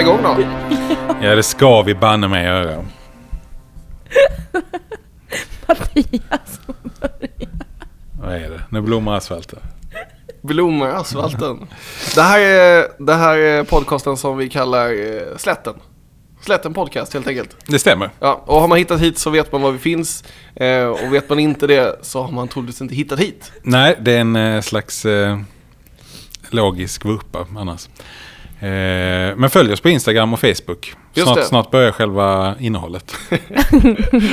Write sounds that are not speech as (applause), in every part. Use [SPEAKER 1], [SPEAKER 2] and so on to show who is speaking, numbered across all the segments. [SPEAKER 1] igång då.
[SPEAKER 2] Ja, det ska vi banne mig göra.
[SPEAKER 3] Mattias som börjar.
[SPEAKER 2] Vad är det? Nu blommar asfalten.
[SPEAKER 1] Blommor i asfalten. Det här, är, det här är podcasten som vi kallar eh, Slätten. Slätten podcast helt enkelt.
[SPEAKER 2] Det stämmer.
[SPEAKER 1] Ja, och har man hittat hit så vet man var vi finns. Eh, och vet man inte det så har man troligtvis inte hittat hit.
[SPEAKER 2] Nej, det är en eh, slags eh, logisk vurpa annars. Eh, men följ oss på Instagram och Facebook.
[SPEAKER 1] Just det.
[SPEAKER 2] Snart, snart börjar själva innehållet.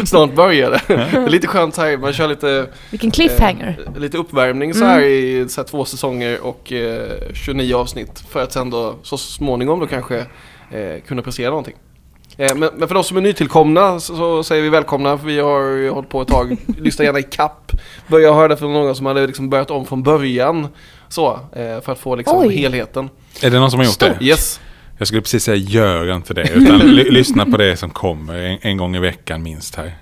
[SPEAKER 1] Snart börjar det. Det är lite skönt här, man kör lite,
[SPEAKER 3] Vilken cliffhanger. Mm.
[SPEAKER 1] eh, lite uppvärmning så här i så här, två säsonger och eh, 29 avsnitt. För att sen då så småningom då kanske eh, kunna prestera någonting. Eh, men, men för de som är nytillkomna så, så säger vi välkomna för vi har ju hållit på ett tag. Lyssna gärna i kapp. Jag hörde från någon som hade liksom börjat om från början. Så, eh, för att få liksom
[SPEAKER 3] Oj.
[SPEAKER 1] helheten.
[SPEAKER 2] Är det någon som har gjort det?
[SPEAKER 1] Yes.
[SPEAKER 2] Jag skulle precis säga gör inte det.
[SPEAKER 1] (laughs)
[SPEAKER 2] Utan ly- lyssna på det som kommer en, en gång i veckan minst här.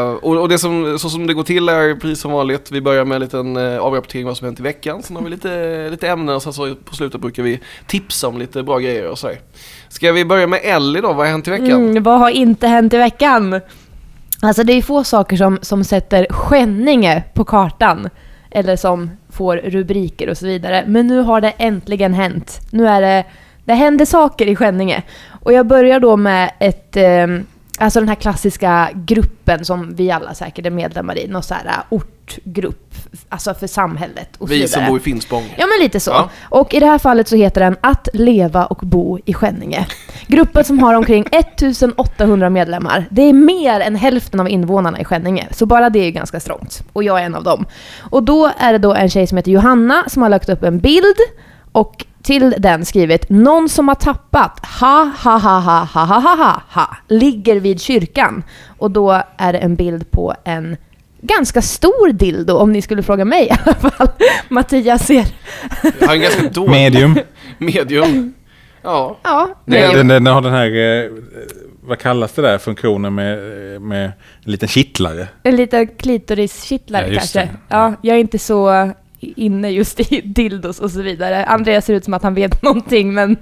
[SPEAKER 1] Eh, och och det som, så som det går till är precis som vanligt, vi börjar med en liten eh, avrapportering vad som hänt i veckan, sen har vi lite, lite ämnen och sen så på slutet brukar vi tipsa om lite bra grejer och sådär. Ska vi börja med Ellie då, vad har hänt i Eh, veckan?
[SPEAKER 3] Mm, vad har inte hänt i veckan? Alltså det är få saker som, som sätter Skänninge på kartan. Eller som får rubriker och så vidare. Men nu har det äntligen hänt. Nu är det, det händer saker i Skänninge. Och jag börjar då med ett, eh, alltså den här klassiska gruppen som vi alla säkert är medlemmar i. Någon så här eh, ortgrupp, alltså för samhället och så
[SPEAKER 1] vi som
[SPEAKER 3] vidare.
[SPEAKER 1] bor i Finspång.
[SPEAKER 3] Ja, men lite så.
[SPEAKER 1] Ja.
[SPEAKER 3] Och i det här fallet så heter den Att leva och bo i Skänninge. Gruppen som har omkring 1800 medlemmar. Det är mer än hälften av invånarna i Skänninge, så bara det är ju ganska strångt. Och jag är en av dem. Och då är det då en tjej som heter Johanna som har lagt upp en bild och till den skrivit “Någon som har tappat, ha ha ha ha ha ha ha ha ha, ligger vid kyrkan”. Och då är det en bild på en ganska stor dildo om ni skulle fråga mig i alla fall. (laughs) Mattias ser.
[SPEAKER 1] Jag har en ganska dålig
[SPEAKER 2] Medium.
[SPEAKER 1] medium. Ja,
[SPEAKER 3] Ja,
[SPEAKER 1] Det är-
[SPEAKER 2] Den, den har den här, eh, vad kallas det där funktionen med, eh, med en liten kittlare?
[SPEAKER 3] en liten klitoriskittlare
[SPEAKER 2] Ja, just
[SPEAKER 3] kanske.
[SPEAKER 2] det.
[SPEAKER 3] Ja, jag är inte så inne just i (laughs) dildos och så vidare. Andreas ser ut som att han vet (laughs) någonting men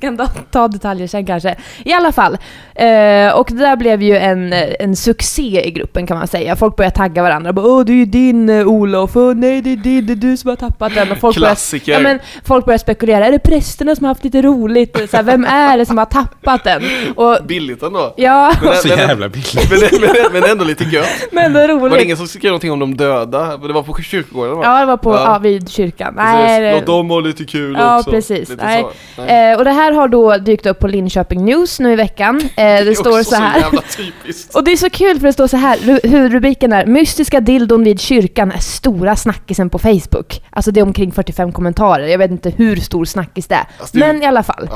[SPEAKER 3] kan ta, ta detaljer sen kanske. I alla fall. Eh, och det där blev ju en, en succé i gruppen kan man säga. Folk började tagga varandra. Bara, Åh, det är ju din eh, Olof. Åh, nej, det är din. Det är du som har tappat den. Och folk började
[SPEAKER 1] klassiker.
[SPEAKER 3] Ja, men folk börjar spekulera, är det prästerna som har haft lite roligt? Så här, vem är det som har tappat den? Och,
[SPEAKER 1] Billigt ändå.
[SPEAKER 3] ja, (laughs)
[SPEAKER 1] Men,
[SPEAKER 2] Så
[SPEAKER 1] men-
[SPEAKER 2] jävla billigt.
[SPEAKER 1] men, men, men ändå lite gött.
[SPEAKER 3] men det är roligt.
[SPEAKER 1] Var det ingen som skrev någonting om de döda? Det var på kyrkogården va?
[SPEAKER 3] Ja, det var på,
[SPEAKER 1] Ja.
[SPEAKER 3] ja. vid kyrkan.
[SPEAKER 1] Precis.
[SPEAKER 3] Nej, det-
[SPEAKER 1] Låt dem ha lite kul
[SPEAKER 3] Ja,
[SPEAKER 1] också.
[SPEAKER 3] precis.
[SPEAKER 1] Lite
[SPEAKER 3] Nej.
[SPEAKER 1] Så. Nej.
[SPEAKER 3] Eh, och det här har då dykt upp på Linköping News nu i veckan. Eh, det,
[SPEAKER 1] är
[SPEAKER 3] står
[SPEAKER 1] också
[SPEAKER 3] så här.
[SPEAKER 1] Så jävla typiskt.
[SPEAKER 3] (laughs) Och det är så kul för det står så här, ru- hur rubriken är “Mystiska dildon vid kyrkan är stora snackisen på Facebook”. Alltså det är omkring 45 kommentarer, jag vet inte hur stor snackis det är.
[SPEAKER 1] Alltså, det är-
[SPEAKER 3] Men i alla fall.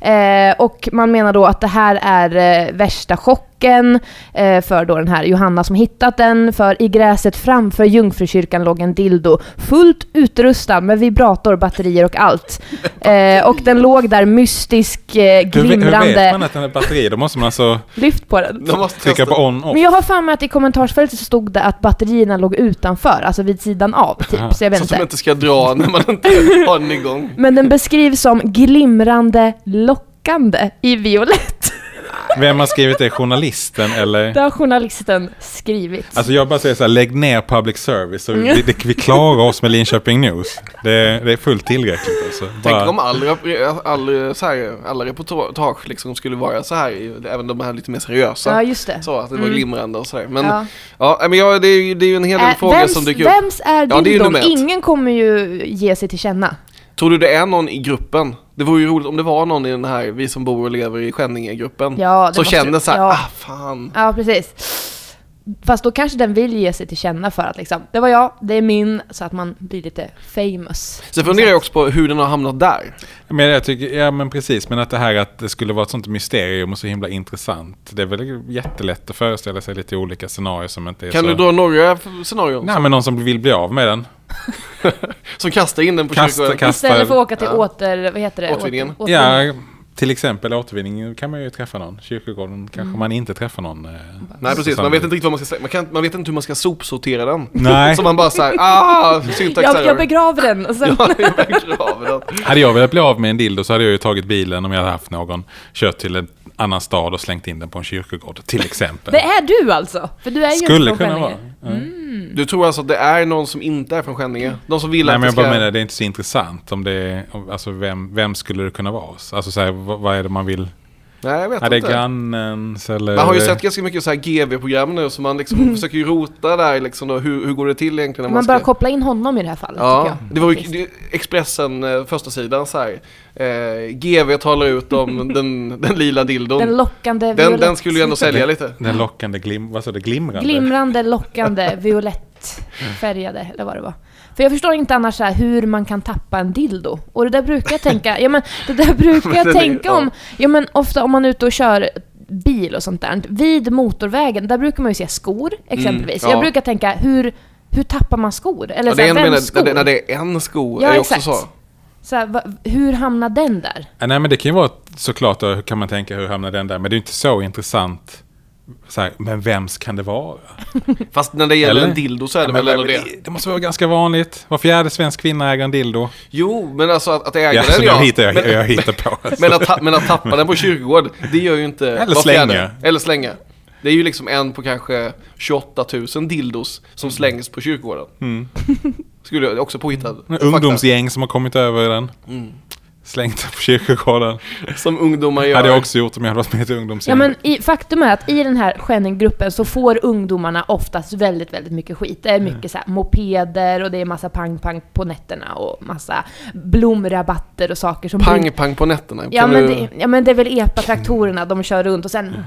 [SPEAKER 1] Ja.
[SPEAKER 3] Eh, och man menar då att det här är eh, värsta chocken eh, för då den här Johanna som hittat den. För i gräset framför Jungfrukyrkan låg en dildo fullt utrustad med vibrator, batterier och allt.
[SPEAKER 2] (laughs)
[SPEAKER 3] Eh, och den låg där mystisk,
[SPEAKER 2] Hur,
[SPEAKER 3] eh,
[SPEAKER 2] ve- hur vet
[SPEAKER 3] glimrande.
[SPEAKER 2] man att den är batteri? Då måste man alltså
[SPEAKER 3] Lyft på den.
[SPEAKER 1] De måste
[SPEAKER 2] trycka
[SPEAKER 1] testa.
[SPEAKER 2] på on off.
[SPEAKER 3] Men jag har för mig att i kommentarsfältet så stod det att batterierna låg utanför, alltså vid sidan av. Typ, så jag vet
[SPEAKER 1] Så att de
[SPEAKER 3] inte.
[SPEAKER 1] inte ska dra när man inte har den igång.
[SPEAKER 3] Men den beskrivs som glimrande lockande i violett.
[SPEAKER 2] (laughs) Vem har skrivit det? Journalisten eller?
[SPEAKER 3] Det har journalisten skrivit.
[SPEAKER 2] Alltså jag bara säger så här, lägg ner public service. Så vi, det, vi klarar oss med Linköping News. Det, det är fullt tillräckligt alltså.
[SPEAKER 1] Tänk om
[SPEAKER 2] Bara,
[SPEAKER 1] all, rep- all, så här, alla reportage liksom skulle vara så här, i- även de här lite mer seriösa.
[SPEAKER 3] Ja, just det. Mm.
[SPEAKER 1] Så att det var glimrande och sådär. Men ja,
[SPEAKER 3] Ja.
[SPEAKER 1] nej, men ja, det, är ju, det är ju en hel del
[SPEAKER 3] Äh,
[SPEAKER 1] frågor
[SPEAKER 3] vems,
[SPEAKER 1] som dyker upp.
[SPEAKER 3] vems
[SPEAKER 1] Ja,
[SPEAKER 3] är
[SPEAKER 1] det är ju
[SPEAKER 3] dildon?
[SPEAKER 1] nummer ett.
[SPEAKER 3] Ingen kommer ju ge sig till känna.
[SPEAKER 1] Tror du det är någon i gruppen? Det vore ju roligt om det var någon i den här vi som bor och lever i Skänninge-gruppen.
[SPEAKER 3] Ja, det
[SPEAKER 1] som
[SPEAKER 3] måste-
[SPEAKER 1] känner så här,
[SPEAKER 3] ja.
[SPEAKER 1] ah fan.
[SPEAKER 3] Ja, precis. Fast då kanske den vill ge sig till känna för att liksom, det var jag, det är min, så att man blir lite famous.
[SPEAKER 1] Så jag funderar jag också på hur den har hamnat där.
[SPEAKER 2] men jag tycker, ja men precis, men att det här att det skulle vara ett sånt mysterium och så himla intressant. Det är väl jättelätt att föreställa sig lite olika scenarier som inte är
[SPEAKER 1] Kan
[SPEAKER 2] så...
[SPEAKER 1] du dra några f- scenarion?
[SPEAKER 2] Nej men någon som vill bli av med den.
[SPEAKER 1] Som kastar in den på
[SPEAKER 2] Kasta-
[SPEAKER 1] kyrkogården?
[SPEAKER 2] kasta-
[SPEAKER 3] Istället för att åka till
[SPEAKER 1] Ja.
[SPEAKER 3] åter, vad heter det?
[SPEAKER 1] Återvinningen.
[SPEAKER 3] Åter, åter,
[SPEAKER 2] Ja, Till exempel återvinning kan man ju träffa någon. Kyrkogården kanske man inte träffar någon. eh,
[SPEAKER 1] Mm. Nej precis,
[SPEAKER 2] säsong.
[SPEAKER 1] man vet inte riktigt vad man ska säga. Man, kan, man vet inte hur man ska sopsortera den.
[SPEAKER 2] Nej.
[SPEAKER 1] (laughs) Så man bara såhär, ah, syntax
[SPEAKER 3] Jag, jag
[SPEAKER 1] error.
[SPEAKER 3] begraver den och sen...
[SPEAKER 1] (laughs) Ja, jag begraver den.
[SPEAKER 2] Hade jag velat bli av med en dildo så hade jag ju tagit bilen om jag hade haft någon. Kört till en annan stad och slängt in den på en kyrkogård till exempel.
[SPEAKER 3] Det är du alltså? För du är ju inte
[SPEAKER 2] Skulle
[SPEAKER 3] från
[SPEAKER 2] kunna vara.
[SPEAKER 3] Skänninge.
[SPEAKER 1] Du tror alltså att det är någon som inte är från Skänninge? De som vill
[SPEAKER 2] Nej men
[SPEAKER 1] att det
[SPEAKER 2] jag
[SPEAKER 1] ska...
[SPEAKER 2] bara menar det är inte så intressant om det är, om- alltså vem, vem skulle det kunna vara? Alltså så här, vad, vad är det man vill?
[SPEAKER 1] Nej jag vet
[SPEAKER 2] Är det
[SPEAKER 1] inte.
[SPEAKER 2] grannens eller?
[SPEAKER 1] Man har ju sett ganska mycket så här GV-program nu så man liksom försöker ju rota där liksom då, hur, hur går det till egentligen när
[SPEAKER 3] Mm. Man
[SPEAKER 1] man,
[SPEAKER 3] bara
[SPEAKER 1] ska...
[SPEAKER 3] koppla in honom i det här fallet
[SPEAKER 1] Ja,
[SPEAKER 3] tycker jag.
[SPEAKER 1] det var ju
[SPEAKER 3] Faktiskt.
[SPEAKER 1] det, Expressen, eh, första sidan så här. Eh, GV talar ut
[SPEAKER 3] (laughs)
[SPEAKER 1] om den, den lila dildon.
[SPEAKER 3] Den
[SPEAKER 1] Den,
[SPEAKER 3] lockande
[SPEAKER 1] den,
[SPEAKER 3] violett...
[SPEAKER 1] skulle ju ändå sälja lite.
[SPEAKER 2] Den lockande glim, vad sa du, glimrande?
[SPEAKER 1] (laughs)
[SPEAKER 3] Glimrande, lockande, violettfärgade eller vad det var. För jag förstår inte annars så här hur man kan tappa en dildo. Och det där brukar jag tänka, ja men
[SPEAKER 1] (laughs)
[SPEAKER 3] det där brukar
[SPEAKER 1] Men
[SPEAKER 3] jag
[SPEAKER 1] den är-
[SPEAKER 3] tänka om, ja men ofta om man är ute och kör bil och sånt där. Vid motorvägen, där brukar man ju se skor exempelvis.
[SPEAKER 1] Mm, ja.
[SPEAKER 3] Jag brukar tänka, hur, hur tappar man skor? Eller
[SPEAKER 1] Ja,
[SPEAKER 3] så
[SPEAKER 1] det är
[SPEAKER 3] här,
[SPEAKER 1] en,
[SPEAKER 3] vems
[SPEAKER 1] när,
[SPEAKER 3] skor?
[SPEAKER 1] det, när det är en sko
[SPEAKER 3] Ja,
[SPEAKER 1] är ju också
[SPEAKER 3] exakt.
[SPEAKER 1] så.
[SPEAKER 3] Så här, va, hur hamnar den där?
[SPEAKER 2] Ja, Eh, Nej men det kan ju vara såklart då, hur kan man tänka hur hamnar den där? Men det är ju inte så intressant. Så här, men vems kan det vara?
[SPEAKER 1] Fast när det gäller
[SPEAKER 2] Eller?
[SPEAKER 1] en dildo så är det väl ändå det.
[SPEAKER 2] det måste vara ganska vanligt. Var fjärde svensk kvinna äger en dildo.
[SPEAKER 1] Jo, men alltså att, att äga
[SPEAKER 2] Ja, så
[SPEAKER 1] den
[SPEAKER 2] jag,
[SPEAKER 1] ja.
[SPEAKER 2] hittar, jag,
[SPEAKER 1] men,
[SPEAKER 2] jag hittar på. Alltså.
[SPEAKER 1] men, att, ta- men att tappa den på kyrkogård, det gör ju inte
[SPEAKER 2] Eller
[SPEAKER 1] var fjärde.
[SPEAKER 2] slänga.
[SPEAKER 1] Eller slänga. Det är ju liksom en på kanske 28 000 dildos som slängs på kyrkogården. (laughs) Skulle jag också påhittad.
[SPEAKER 2] Mm. Ungdomsgäng som har kommit över den.
[SPEAKER 1] Mm.
[SPEAKER 2] Slängt på kyrkogården.
[SPEAKER 1] Fakta. Som ungdomar gör.
[SPEAKER 2] Hade jag också gjort om jag hade varit med i ett ungdomsgäng.
[SPEAKER 3] Ja, men i, faktum är att i den här skändinggruppen så får ungdomarna oftast väldigt, väldigt mycket skit. Det är
[SPEAKER 1] Mm.
[SPEAKER 3] mycket så här, mopeder och det är massa pang-pang på nätterna och massa blomrabatter och saker som... blir-
[SPEAKER 1] Pang pang på nätterna.
[SPEAKER 3] Ja
[SPEAKER 1] Kan
[SPEAKER 3] men,
[SPEAKER 1] du-
[SPEAKER 3] det, ja men det är väl EPA-traktorerna de kör runt och
[SPEAKER 1] Mm.
[SPEAKER 3] sen...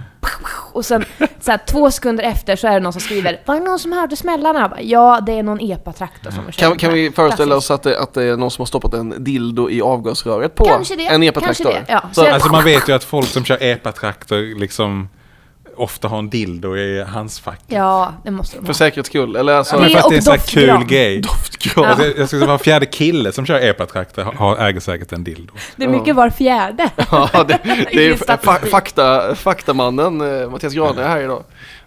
[SPEAKER 3] Och sen så här, två sekunder efter så är det någon som skriver Var det någon som hörde smällarna? Jag bara, Ja, det är någon EPA-traktor som kör.
[SPEAKER 1] Mm. kan, kan vi föreställa
[SPEAKER 3] Klassiskt.
[SPEAKER 1] oss att det, att det är någon som har stoppat en dildo i avgasröret på
[SPEAKER 3] Kanske det,
[SPEAKER 1] en
[SPEAKER 3] kanske
[SPEAKER 1] epatraktor?
[SPEAKER 3] det, ja.
[SPEAKER 1] Så,
[SPEAKER 3] Så jag-
[SPEAKER 2] Alltså man vet ju att folk som kör epatraktor liksom ofta har en dildo i handskfacket.
[SPEAKER 3] Ja, det måste de
[SPEAKER 1] för
[SPEAKER 3] ha.
[SPEAKER 1] säkerhets skull. Eller alltså,
[SPEAKER 2] Ja, men
[SPEAKER 3] Det
[SPEAKER 2] för att
[SPEAKER 3] och
[SPEAKER 2] det är en sån här
[SPEAKER 3] doftgran.
[SPEAKER 2] kul grej.
[SPEAKER 1] doftgran.
[SPEAKER 2] Alltså, jag- jag skulle säga var fjärde kille som kör epatraktor har, äger säkert en dildo.
[SPEAKER 3] Det är mycket var fjärde.
[SPEAKER 1] (laughs) Ja, det,
[SPEAKER 3] (laughs)
[SPEAKER 1] det är
[SPEAKER 3] Ingen
[SPEAKER 1] fa-
[SPEAKER 3] statistik.
[SPEAKER 1] fakta, faktamannen eh, Mattias Grane här idag.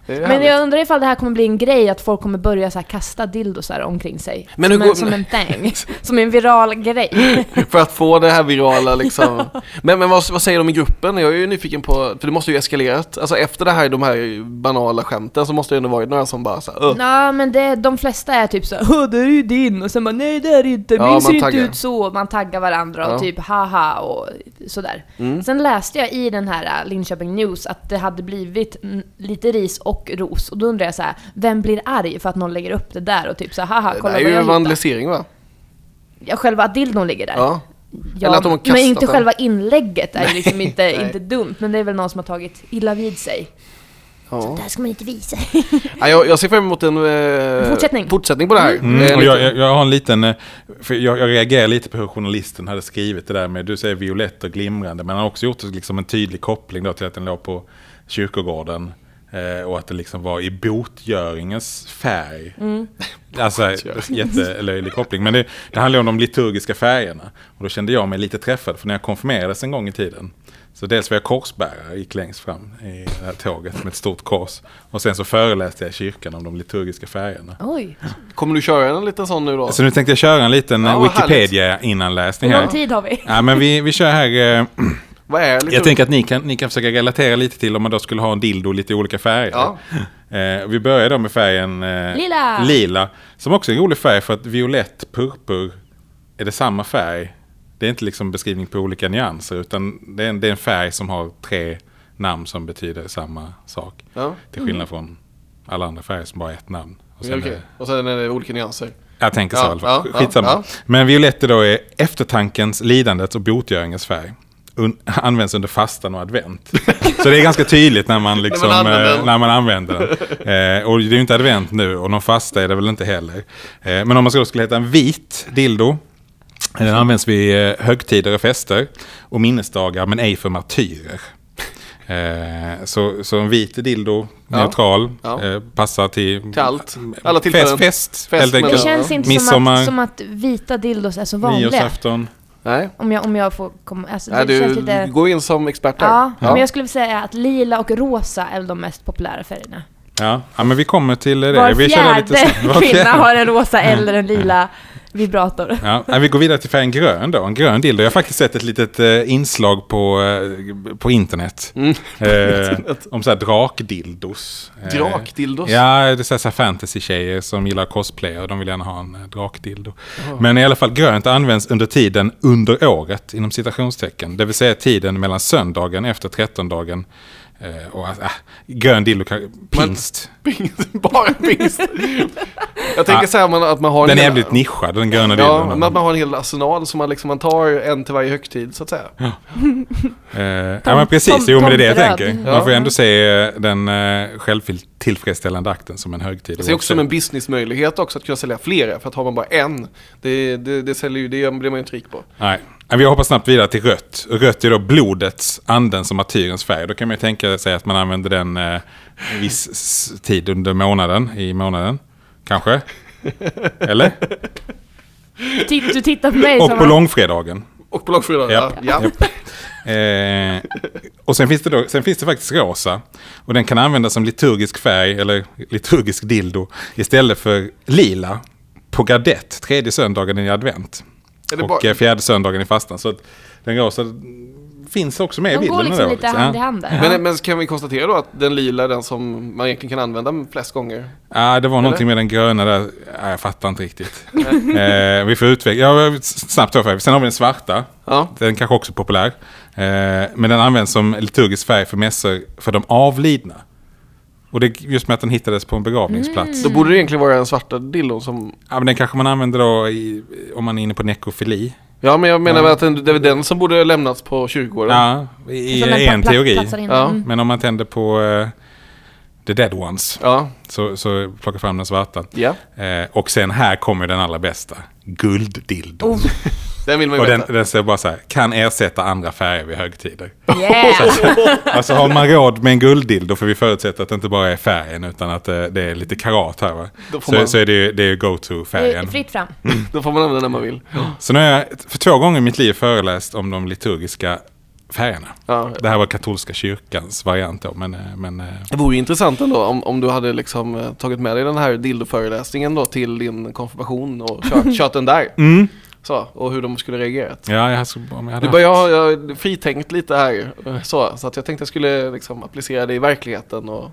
[SPEAKER 1] Det är
[SPEAKER 3] Men
[SPEAKER 1] härligt.
[SPEAKER 3] jag undrar ifall det här kommer bli en grej, att folk kommer börja så här kasta dildosar omkring sig.
[SPEAKER 1] Men hur
[SPEAKER 3] som, en,
[SPEAKER 1] går-
[SPEAKER 3] som en thing. som en viral grej.
[SPEAKER 1] (laughs) För att få det här
[SPEAKER 3] (laughs)
[SPEAKER 1] virala liksom. Men, men vad, vad säger de i gruppen? Jag är ju nyfiken på, för det måste ju eskalerat. Alltså efter det här, de här banala skämten så måste det ändå varit några som bara så här, "Öh, "Ugh."
[SPEAKER 3] Nej men det, de flesta är typ så här, "Åh, det är ju din, och sen bara nej det är det inte,
[SPEAKER 1] Ja,
[SPEAKER 3] min
[SPEAKER 1] man
[SPEAKER 3] ser inte
[SPEAKER 1] taggar.
[SPEAKER 3] ut så. Man taggar varandra och
[SPEAKER 1] Ja. Mm.
[SPEAKER 3] typ haha och sådär. Sen läste jag i den här äh, Linköping News att det hade blivit mm, lite ris och ros. Och då undrar jag så här, vem blir arg för att någon lägger upp det där och typ så här, haha
[SPEAKER 1] Det
[SPEAKER 3] kolla
[SPEAKER 1] där är
[SPEAKER 3] vad
[SPEAKER 1] ju
[SPEAKER 3] jag hittade.
[SPEAKER 1] vandalisering va?
[SPEAKER 3] Ja, själva att dildon ligger där.
[SPEAKER 1] Ja. Eller
[SPEAKER 3] Ja,
[SPEAKER 1] att de har kastat
[SPEAKER 3] men inte
[SPEAKER 1] den.
[SPEAKER 3] själva inlägget är ju liksom inte,
[SPEAKER 1] nej.
[SPEAKER 3] inte dumt, men det är väl någon som har tagit illa vid sig.
[SPEAKER 1] ja.
[SPEAKER 3] Det här ska man inte visa.
[SPEAKER 1] Ja, jag, jag ser fram emot en eh,
[SPEAKER 3] Fortsättning.
[SPEAKER 1] fortsättning på det här. Eh,
[SPEAKER 2] Mm, och
[SPEAKER 1] lite-
[SPEAKER 2] jag, jag, jag har en liten, eh, för jag, jag reagerar lite på hur journalisten hade skrivit det där med, du säger violett och glimrande, men han har också gjort liksom en tydlig koppling då till att den låg på kyrkogården eh, och att det liksom var i botgöringens färg. (laughs) Alltså, jättelöjlig koppling. Men det, det handlar ju om de liturgiska färgerna. Och då kände jag mig lite träffad, för när jag konfirmerades en gång i tiden, så dels var jag korsbärare, gick längst fram i det här tåget med ett stort kors. Och sen så föreläste jag i kyrkan om de liturgiska färgerna.
[SPEAKER 3] Oj,
[SPEAKER 1] Kommer du köra en liten sån nu då?
[SPEAKER 2] Så nu tänkte jag köra en liten
[SPEAKER 1] Ja,
[SPEAKER 2] eh,
[SPEAKER 1] vad härligt.
[SPEAKER 2] Wikipedia-innanläsning
[SPEAKER 3] hur lång
[SPEAKER 2] här.
[SPEAKER 3] tid har vi?
[SPEAKER 2] Ja, men vi, vi kör här. eh,
[SPEAKER 1] Vad är det? liksom?
[SPEAKER 2] Jag tänker att ni kan, ni kan försöka relatera lite till om man då skulle ha en dildo i lite olika färger.
[SPEAKER 1] Ja.
[SPEAKER 2] Eh, vi börjar då med färgen eh,
[SPEAKER 3] Lila.
[SPEAKER 2] lila. Som också är en rolig färg för att violett, purpur, är det samma färg? Det är inte liksom beskrivning på olika nyanser utan det är en, det är en färg som har tre namn som betyder samma sak.
[SPEAKER 1] Ja. Mm.
[SPEAKER 2] Till skillnad från alla andra färger som bara har ett namn. Och sen
[SPEAKER 1] Okej,
[SPEAKER 2] är det-
[SPEAKER 1] och sen är det olika nyanser.
[SPEAKER 2] jag tänker så
[SPEAKER 1] Ja,
[SPEAKER 2] i alla fall.
[SPEAKER 1] ja,
[SPEAKER 2] Skitsamma.
[SPEAKER 1] ja.
[SPEAKER 2] Men violett då är eftertankens, lidandets och botgöringens färg. Un- (laughs) används under fastan och advent. Så det är ganska tydligt när man, liksom,
[SPEAKER 1] (laughs) När man använder
[SPEAKER 2] eh,
[SPEAKER 1] den.
[SPEAKER 2] när man använder den. Eh, och det är ju inte advent nu och någon fasta är det väl inte heller. Eh, men om man då skulle heta en vit dildo. eh, Den används vid eh, högtider och fester och minnesdagar men ej för martyrer. Eh, så, så en vit dildo,
[SPEAKER 1] Ja.
[SPEAKER 2] neutral,
[SPEAKER 1] Ja.
[SPEAKER 2] eh, passar till,
[SPEAKER 1] Till allt. Alla tillfällen.
[SPEAKER 2] Fest, fest,
[SPEAKER 1] Fest,
[SPEAKER 2] helt
[SPEAKER 1] men-
[SPEAKER 2] enkelt.
[SPEAKER 3] Det känns inte som
[SPEAKER 2] Midsommar.
[SPEAKER 3] att, som att vita dildos är så vanliga.
[SPEAKER 2] Nyårsafton.
[SPEAKER 1] Nej,
[SPEAKER 3] Om jag, om jag får komma... Alltså,
[SPEAKER 1] Nej
[SPEAKER 3] det
[SPEAKER 1] du,
[SPEAKER 3] känns lite...
[SPEAKER 1] du går in som expert där.
[SPEAKER 3] Ja,
[SPEAKER 1] Ja.
[SPEAKER 3] men jag skulle säga att lila och rosa är väl de mest populära färgerna.
[SPEAKER 2] Ja. ja, men vi kommer till det.
[SPEAKER 3] Var
[SPEAKER 2] vi kör lite
[SPEAKER 3] fjärde
[SPEAKER 2] snabbt. Var
[SPEAKER 3] kvinna
[SPEAKER 2] fjärde. Mm.
[SPEAKER 3] har en rosa eller en lila vibrator.
[SPEAKER 2] Ja, nej, vi går vidare till färgen grön då, en grön dildo. Jag har faktiskt sett ett litet eh, inslag på, eh, på internet.
[SPEAKER 1] Mm.
[SPEAKER 2] Eh, om så här drakdildos. Eh,
[SPEAKER 1] Drakdildos.
[SPEAKER 2] Ja, det är så här fantasy-tjejer som gillar cosplayer. De vill gärna ha en eh, drakdildo. Men i alla fall grönt används under tiden under året, inom citationstecken. Det vill säga tiden mellan söndagen efter 13-dagen. Eh, och, äh, grön dildo, kan-
[SPEAKER 1] Men-
[SPEAKER 2] pingst.
[SPEAKER 1] Pingst, (laughs) bara pingst. Jag tänker
[SPEAKER 2] Ja.
[SPEAKER 1] så här, man, att man har
[SPEAKER 2] Den är
[SPEAKER 1] hel-
[SPEAKER 2] jävligt nischad, den gröna
[SPEAKER 1] Ja,
[SPEAKER 2] dildon.
[SPEAKER 1] men att man har en hel arsenal som man liksom, man tar en till varje högtid så att säga.
[SPEAKER 2] Eh, ja men precis, jo men det är det jag
[SPEAKER 3] tomteröd.
[SPEAKER 2] tänker.
[SPEAKER 1] Ja.
[SPEAKER 2] Man får ju ändå se eh, den eh, självtillfredsställande akten som en högtid.
[SPEAKER 1] Det ser också som en businessmöjlighet också att kunna sälja flera, för att har man bara en, det, det, det, säljer ju, det blir man ju inte rik på.
[SPEAKER 2] Nej. Ja, Vi hoppar snabbt vidare till rött. Och Rött är då blodets, andens och martyrens färg. Då kan man ju tänka sig att man använder den eh, en viss s- tid under månaden, i månaden.
[SPEAKER 1] (laughs)
[SPEAKER 2] Kanske? Eller?
[SPEAKER 3] Titt- Du tittar på mig
[SPEAKER 2] Och
[SPEAKER 3] som
[SPEAKER 2] på långfredagen.
[SPEAKER 1] Och på långfredagen, ja.
[SPEAKER 2] Ja.
[SPEAKER 1] ja.
[SPEAKER 2] Eh, och sen finns, det då, sen finns det faktiskt rosa. Och den kan användas som liturgisk färg, eller liturgisk dildo, istället för lila på gardett tredje söndagen i advent.
[SPEAKER 1] Är det
[SPEAKER 2] och
[SPEAKER 1] bara-
[SPEAKER 2] eh, fjärde söndagen i fastan. Så att den rosa finns också med i
[SPEAKER 3] De
[SPEAKER 2] bilden.
[SPEAKER 3] går liksom
[SPEAKER 2] då,
[SPEAKER 3] lite hand i hand där.
[SPEAKER 1] Men, men kan vi konstatera då att den lila är den som man egentligen kan använda flest gånger?
[SPEAKER 2] Ja, det var någonting med den gröna där. Ja, jag fattar inte
[SPEAKER 1] (laughs)
[SPEAKER 2] riktigt. eh, vi får utveckla. Ja, snabbt då. Sen har vi den svarta.
[SPEAKER 1] Ja.
[SPEAKER 2] Den kanske också är populär. Eh, men den används som liturgisk färg för mässor för de avlidna. Och det är just med att den hittades på en begravningsplats.
[SPEAKER 1] Då borde det egentligen vara den svarta dildon som...
[SPEAKER 2] Ja, men den kanske man använder då i, om man är inne på nekrofili.
[SPEAKER 1] Ja men jag menar väl att den, det är väl den som borde ha lämnats på kyrkogården.
[SPEAKER 2] Ja, i,
[SPEAKER 3] som
[SPEAKER 2] i en
[SPEAKER 3] pla-
[SPEAKER 2] teori.
[SPEAKER 3] platsar in.
[SPEAKER 1] Ja.
[SPEAKER 2] (laughs)
[SPEAKER 3] Mm.
[SPEAKER 2] Men om man tänder på eh, the dead ones
[SPEAKER 1] Ja.
[SPEAKER 2] så, så plockar fram den svarta.
[SPEAKER 1] ja.
[SPEAKER 2] Eh, och sen här kommer den allra bästa. Gulddildon.
[SPEAKER 3] Oh,
[SPEAKER 1] Den vill man ju
[SPEAKER 2] Och den,
[SPEAKER 1] veta.
[SPEAKER 2] den säger bara så här, kan ersätta andra färger vid högtider.
[SPEAKER 3] yeah.
[SPEAKER 2] Alltså har man råd med en gulddildo, för vi förutsätter att det inte bara är färgen utan att eh, det är lite karat här va.
[SPEAKER 1] Då får
[SPEAKER 2] Så,
[SPEAKER 1] man-
[SPEAKER 2] så är det ju, det är ju
[SPEAKER 3] Det är
[SPEAKER 2] go-to-färgen.
[SPEAKER 3] Fritt fram.
[SPEAKER 1] Då får man använda den man vill.
[SPEAKER 2] Så nu har jag för två gånger i mitt liv föreläst om de liturgiska färgerna.
[SPEAKER 1] Ja.
[SPEAKER 2] Det här var katolska kyrkans variant då, men, eh, men eh,
[SPEAKER 1] Det vore ju intressant ändå om, om du hade liksom eh, tagit med dig den här dildoföreläsningen då till din konfirmation och kört, kört den där. Så, och hur de skulle reagerat.
[SPEAKER 2] ja, jag, skulle- om jag hade...
[SPEAKER 1] Det börjar, jag har- jag har fritänkt lite här, eh, så, så att jag tänkte jag skulle liksom applicera det i verkligheten och...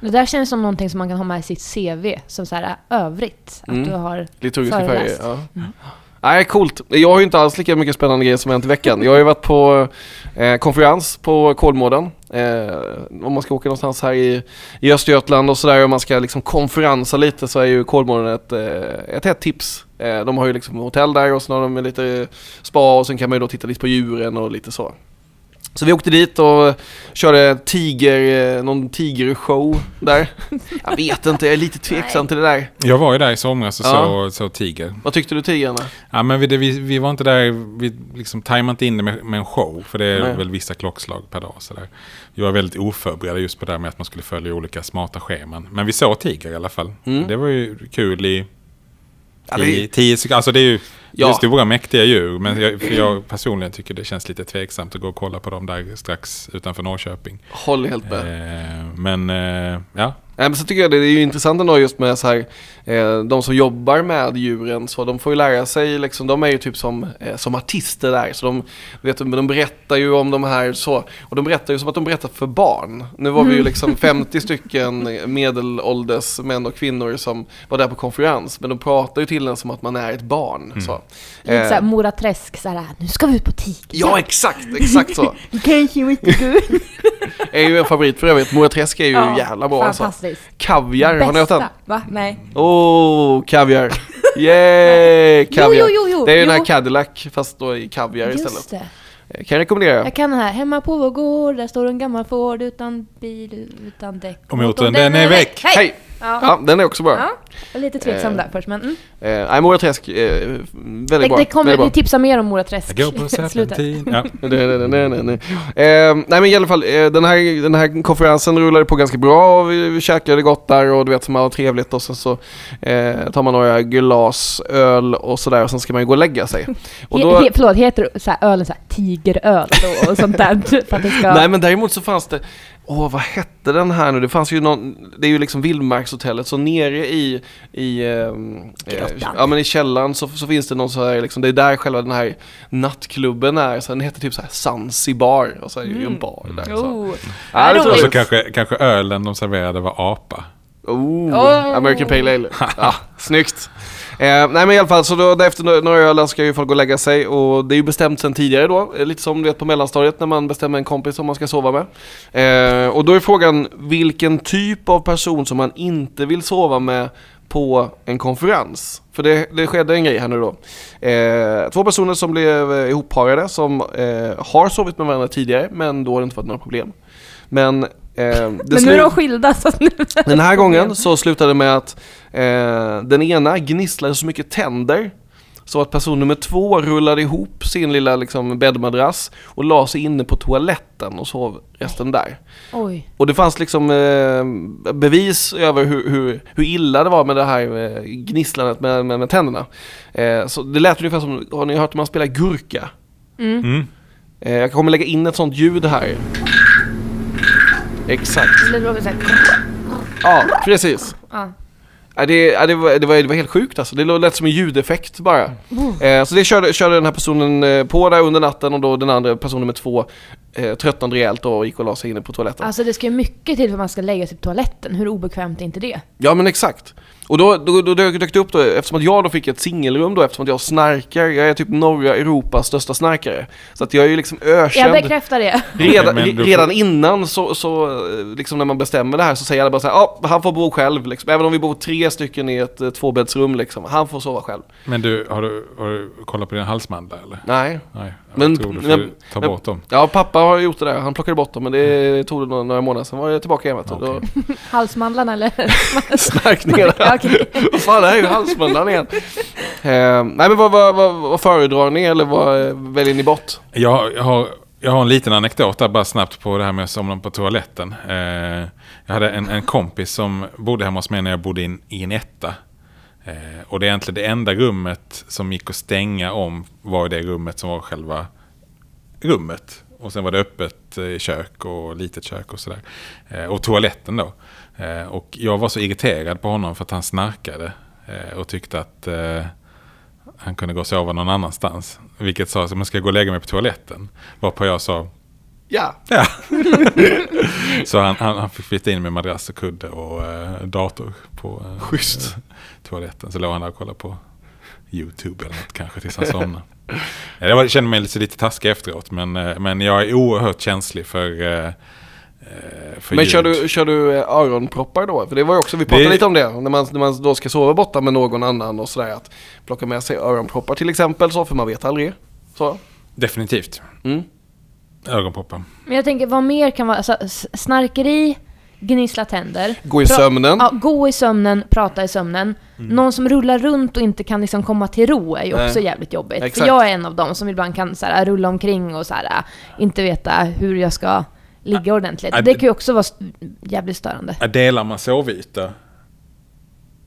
[SPEAKER 3] Det där känns som någonting som man kan ha med i sitt CV, som så här äh, övrigt. Att
[SPEAKER 1] Mm.
[SPEAKER 3] du har...
[SPEAKER 1] Liturgiska färger,
[SPEAKER 3] Föreläst.
[SPEAKER 1] ja. Nej, coolt. Jag har ju inte alls lika mycket spännande grejer som hänt i veckan. Jag har ju varit på eh, konferens på Kolmården. Eh, om man ska åka någonstans här i, i Östergötland och sådär och man ska liksom konferensa lite så är ju Kolmården ett, eh, ett hett tips. Eh, de har ju liksom hotell där och så har de lite spa och sen kan man ju då titta lite på djuren och lite så. Så vi åkte dit och körde tiger, eh, någon tigershow där. Jag vet inte, jag är lite tveksam till det där.
[SPEAKER 2] Jag var ju där i somras och
[SPEAKER 1] Ja.
[SPEAKER 2] så, så tiger.
[SPEAKER 1] Vad tyckte du tigrarna?
[SPEAKER 2] Ja, men vi, det- vi, vi var inte där, vi liksom tajmade inte in det med, med en show, för det är
[SPEAKER 1] Nej.
[SPEAKER 2] väl vissa klockslag per dag. Så där. Vi var väldigt oförberedda just på det här med att man skulle följa olika smarta scheman. Men vi såg tiger i alla fall.
[SPEAKER 1] Mm.
[SPEAKER 2] Det var ju kul i,
[SPEAKER 1] Ja, det-
[SPEAKER 2] i tio sekunder. Alltså det är ju det är
[SPEAKER 1] Ja.
[SPEAKER 2] stora mäktiga djur, men jag, för jag personligen tycker det känns lite tveksamt att gå och kolla på dem där strax utanför Norrköping.
[SPEAKER 1] Håller helt med.
[SPEAKER 2] Eh, men eh, ja,
[SPEAKER 1] Nej, men så tycker jag det, det är ju intressant ändå just med så här, eh, de som jobbar med djuren så de får ju lära sig liksom, de är ju typ som, eh, som artister där så de, vet, du, de berättar ju om de här så, och de berättar ju som att de berättar för barn. Nu var vi ju liksom 50 stycken medelålders män och kvinnor som var där på konferens men de pratar ju till en som att man är ett barn. Så.
[SPEAKER 3] Lite
[SPEAKER 1] Eh,
[SPEAKER 3] såhär Mora Träsk, såhär, äh, nu ska vi ut på tiger.
[SPEAKER 1] ja exakt, exakt så.
[SPEAKER 3] Kanske vi inte
[SPEAKER 1] (laughs)
[SPEAKER 3] går ut.
[SPEAKER 1] Är ju en favorit för övrigt, Mora Träsk är ju
[SPEAKER 3] Ja,
[SPEAKER 1] jävla bra alltså.
[SPEAKER 3] Fantastiskt.
[SPEAKER 1] Kaviar, har ni åt den?
[SPEAKER 3] Bästa. Va? Nej.
[SPEAKER 1] Åh, oh, kaviar! Yay! Kaviar!
[SPEAKER 3] (laughs) Jo, jo, jo, jo.
[SPEAKER 1] det är ju
[SPEAKER 3] jo.
[SPEAKER 1] den här Cadillac fast då i kaviar istället.
[SPEAKER 3] Just det.
[SPEAKER 1] Eh, Kan jag rekommendera.
[SPEAKER 3] Jag kan den här. Hemma på vår gård, där står en gammal Ford utan bil, utan däck.
[SPEAKER 2] Om motorn, den är väck.
[SPEAKER 3] Hej!
[SPEAKER 1] Hej!
[SPEAKER 3] Ja.
[SPEAKER 1] Ja, den är också bra.
[SPEAKER 3] Ja. Jag är lite tveksam
[SPEAKER 1] Eh,
[SPEAKER 3] där först, men... Mm.
[SPEAKER 1] Eh, nej, Mora Träsk, eh,
[SPEAKER 3] Det,
[SPEAKER 1] väldigt bra.
[SPEAKER 3] det kommer,
[SPEAKER 1] väldigt bra.
[SPEAKER 3] vi tipsar mer om Mora
[SPEAKER 2] Jag
[SPEAKER 3] Träsk
[SPEAKER 2] går
[SPEAKER 3] (laughs)
[SPEAKER 2] på
[SPEAKER 3] i slutet.
[SPEAKER 2] serpentin. Ja.
[SPEAKER 1] Nej, nej, nej, nej, nej. Eh, nej men i alla fall, eh, den, här, den här konferensen rullade på ganska bra och vi, vi käkade gott där och du vet som allt trevligt och sen så eh, tar man några glas öl och sådär och sen ska man ju gå och lägga sig. Och
[SPEAKER 3] (laughs) He, he, förlåt, heter så här, ölen så här, tigeröl och, och
[SPEAKER 1] (laughs)
[SPEAKER 3] sånt där? För att det ska...
[SPEAKER 1] Nej men däremot så fanns det, åh vad hette den här nu? Det fanns ju någon, det är ju liksom Vildmarkshotellet så nere i, i, ehm, eh,
[SPEAKER 3] Grottan.
[SPEAKER 1] ja, men i källaren så, så finns det någon så här liksom, det är där själva den här nattklubben är. Så den hette typ så här Zanzibar och så är det ju en bar där. Så.
[SPEAKER 3] Oh.
[SPEAKER 1] Ja, det tror
[SPEAKER 2] Och
[SPEAKER 1] jag.
[SPEAKER 2] så kanske, kanske ölen de serverade var apa.
[SPEAKER 1] Oh,
[SPEAKER 3] Oh.
[SPEAKER 1] American Pale
[SPEAKER 3] (laughs)
[SPEAKER 1] Ale. ja, snyggt. Eh, nej men i alla fall, så då, efter några öl ska ju folk gå och lägga sig och det är ju bestämt sedan tidigare då. Eh, Lite som du vet på mellanstadiet när man bestämmer en kompis som man ska sova med. Eh, och då är frågan vilken typ av person som man inte vill sova med på en konferens. För det, det skedde en grej här nu då. Eh, två personer som blev eh, ihopparade som eh, har sovit med varandra tidigare men då har det inte varit några problem. Men, eh, det
[SPEAKER 3] Men nu
[SPEAKER 1] slu-
[SPEAKER 3] är de skilda så att nu...
[SPEAKER 1] den här gången så slutade det med att eh, den ena gnisslade så mycket tänder så att person nummer två rullade ihop sin lilla liksom, bäddmadrass och la sig inne på toaletten och sov resten där.
[SPEAKER 3] Oj.
[SPEAKER 1] Och det fanns liksom eh, bevis över hur, hur, hur illa det var med det här eh, gnisslandet med, med, med tänderna. Eh, så det lät ungefär som, har ni hört hur man spelar gurka?
[SPEAKER 2] Mm.
[SPEAKER 1] Eh, jag kommer lägga in ett sånt ljud här. Exakt.
[SPEAKER 3] Det låter så här-
[SPEAKER 1] Ja, precis.
[SPEAKER 3] Ja.
[SPEAKER 1] Ja, det, ja, det, var, det, var, det var helt sjukt alltså. Det lät som en ljudeffekt bara. Eh, så det körde, körde den här personen eh, på där under natten och då den andra personen med två eh, tröttnade rejält och gick och la sig inne på toaletten.
[SPEAKER 3] Alltså det ska ju mycket till för att man ska lägga sig på toaletten. Hur obekvämt är inte det?
[SPEAKER 1] Ja men exakt. Och då, då, då dök dök det upp då, eftersom att jag då fick ett singelrum då, eftersom att jag snarkar, jag är typ norra Europas största snarkare. Så att jag är ju liksom ökänd.
[SPEAKER 3] Jag bekräftar det.
[SPEAKER 1] Redan,
[SPEAKER 2] Men du får-
[SPEAKER 1] redan innan så, så, eh, liksom när man bestämmer det här så säger alla bara så här, ja han får bo själv liksom. Även om vi bor tre stycken i ett eh, tvåbäddsrum liksom, han får sova själv.
[SPEAKER 2] Men du har, du, har du kollat på din halsmandlar eller?
[SPEAKER 1] Nej.
[SPEAKER 2] Nej, jag
[SPEAKER 1] Men-
[SPEAKER 2] tror du får
[SPEAKER 1] men-
[SPEAKER 2] ta
[SPEAKER 1] men-
[SPEAKER 2] bort dem.
[SPEAKER 1] Ja, pappa har gjort det där. Han plockade bort dem, men
[SPEAKER 2] Mm.
[SPEAKER 1] det tog det några, några månader. Sen var jag tillbaka i hemmet. och Då (laughs)
[SPEAKER 3] Halsmandlarna eller?
[SPEAKER 1] snark ner
[SPEAKER 3] (laughs) Ja, okej.
[SPEAKER 1] Vad fan, det här är ju halsmandlarna igen. Eh, nej, men vad, vad, vad, vad föredrar ni eller vad eh, väljer ni bort?
[SPEAKER 2] Jag, jag, har, jag har en liten anekdot där bara snabbt på det här med att somna på toaletten. Eh, jag hade en, en kompis som bodde hemma hos mig när jag bodde in, i en etta. Eh, och det är egentligen det enda rummet som gick att stänga om var det rummet som var själva rummet. Och sen var det öppet eh, kök och litet kök och sådär. Eh, Och toaletten då. Eh, Och jag var så irriterad på honom för att han snarkade. eh, Och tyckte att eh, han kunde gå och sova någon annanstans. Vilket sa att man ska jag gå och lägga mig på toaletten. Varpå jag sa
[SPEAKER 1] Ja,
[SPEAKER 2] ja. så han, han, han fick flytta in med madrass och kudde och eh, dator på eh,
[SPEAKER 1] Schysst.
[SPEAKER 2] eh, toaletten. Så låg han där och kollade på YouTube eller något kanske tills han somnade. Ja, Jag var- kände mig lite, lite taskig efteråt men, eh, men jag är oerhört känslig för, eh, eh, för
[SPEAKER 1] men
[SPEAKER 2] ljud.
[SPEAKER 1] kör du, kör du eh, öronproppar då? För det var ju också, vi pratade
[SPEAKER 2] Det-
[SPEAKER 1] lite om det, när man, när man då ska sova borta med någon annan och sådär, att plocka med sig öronproppar till exempel, så, för man vet aldrig. Så.
[SPEAKER 2] Definitivt.
[SPEAKER 1] Mm.
[SPEAKER 2] Ögonproppar.
[SPEAKER 3] Men jag tänker, vad mer kan vara... Alltså, s- snarkeri, gnissla tänder.
[SPEAKER 1] Gå i
[SPEAKER 3] Pra-
[SPEAKER 1] sömnen.
[SPEAKER 3] Ja, gå i sömnen, prata i sömnen.
[SPEAKER 2] Mm.
[SPEAKER 3] Någon som rullar runt och inte kan liksom komma till ro är ju också
[SPEAKER 1] Nej.
[SPEAKER 3] jävligt jobbigt. För
[SPEAKER 1] Exakt.
[SPEAKER 3] jag är en av dem som ibland kan så här, rulla omkring och så här, äh, inte veta hur jag ska ligga ordentligt.
[SPEAKER 2] ah,
[SPEAKER 3] Det
[SPEAKER 2] d-
[SPEAKER 3] kan ju också vara st- jävligt störande.
[SPEAKER 2] Ja, Delar man sovyta,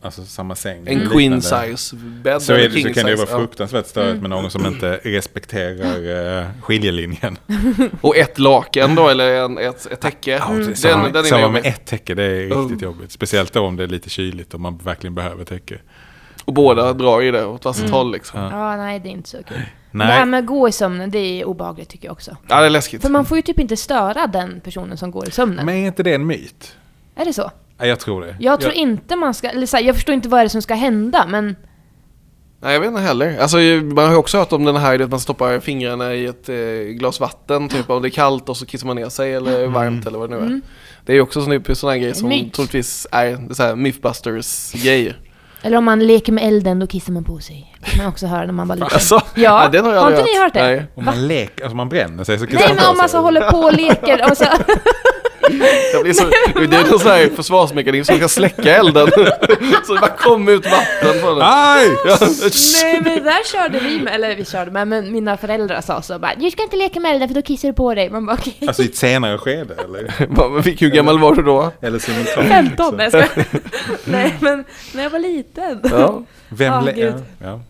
[SPEAKER 2] alltså samma säng.
[SPEAKER 1] En
[SPEAKER 2] liknande.
[SPEAKER 1] queen size bed
[SPEAKER 2] Så, är
[SPEAKER 1] eller
[SPEAKER 2] det, så
[SPEAKER 1] king
[SPEAKER 2] kan det ju
[SPEAKER 1] size,
[SPEAKER 2] vara fruktansvärt störigt med någon som inte respekterar eh, skiljelinjen.
[SPEAKER 1] ja. Och ett laken då, eller en, ett, ett täcke.
[SPEAKER 2] Ja, det-
[SPEAKER 1] Den,
[SPEAKER 2] Samma,
[SPEAKER 1] Mm. den är
[SPEAKER 2] samma
[SPEAKER 1] med.
[SPEAKER 2] med ett täcke, det är riktigt jobbigt. Speciellt då om det är lite kyligt och man verkligen behöver täcke.
[SPEAKER 1] Och båda drar i det åt varsitt
[SPEAKER 3] Mm.
[SPEAKER 1] håll liksom.
[SPEAKER 2] Ja.
[SPEAKER 1] Ja.
[SPEAKER 3] Ja, nej det är inte så kul. Men Det här
[SPEAKER 2] Nej,
[SPEAKER 3] med att gå i sömnen, det är obehagligt tycker jag också.
[SPEAKER 1] det är läskigt.
[SPEAKER 3] För man får ju typ inte störa den personen som går i sömnen.
[SPEAKER 2] men är inte det en myt?
[SPEAKER 3] Är det så?
[SPEAKER 2] Ja, jag tror det.
[SPEAKER 3] Jag tror inte man ska, eller så här, jag förstår inte vad är det som ska hända, men
[SPEAKER 1] Nej jag vet inte heller. Alltså ju- man har ju också hört om den här att man stoppar fingrarna i ett eh, glas vatten typ om det är kallt och så kissar man ner sig eller varmt eller vad det nu är. Det är ju också sån, typ- sån här grej som
[SPEAKER 3] Mm. Myt.
[SPEAKER 1] troligtvis är så här mythbusters-grejer.
[SPEAKER 3] eller om man leker med elden då kissar man på sig. Det kan man också höra när man var liten.
[SPEAKER 1] Alltså,
[SPEAKER 3] Ja,
[SPEAKER 1] nej, den har jag
[SPEAKER 3] har
[SPEAKER 1] aldrig
[SPEAKER 3] inte ni hört det?
[SPEAKER 1] Nej.
[SPEAKER 2] Om man, lek, alltså man bränner sig så
[SPEAKER 1] (laughs)
[SPEAKER 3] Nej men om man så håller på och leker och så...
[SPEAKER 1] Det, blir
[SPEAKER 3] (laughs)
[SPEAKER 1] så, det är någon sån här försvarsmekanism som kan släcka elden. (laughs) Så det bara kom ut vatten från den.
[SPEAKER 2] Aj!
[SPEAKER 1] Ja.
[SPEAKER 3] Nej men det där körde vi med, eller vi körde med, men mina föräldrar sa så bara Du ska inte leka med elden för då kissar du på dig. Man bara
[SPEAKER 1] (laughs)
[SPEAKER 3] okej.
[SPEAKER 2] Alltså i ett senare skede eller?
[SPEAKER 1] Bara, men Fick, hur gammal var du då?
[SPEAKER 2] Eller simultant.
[SPEAKER 3] 15, nej
[SPEAKER 2] liksom.
[SPEAKER 3] jag skojar.
[SPEAKER 1] (laughs)
[SPEAKER 3] Nej men när jag var liten.
[SPEAKER 1] Ja.
[SPEAKER 2] Vem
[SPEAKER 3] Ah,
[SPEAKER 2] le-
[SPEAKER 3] gud.
[SPEAKER 2] ja.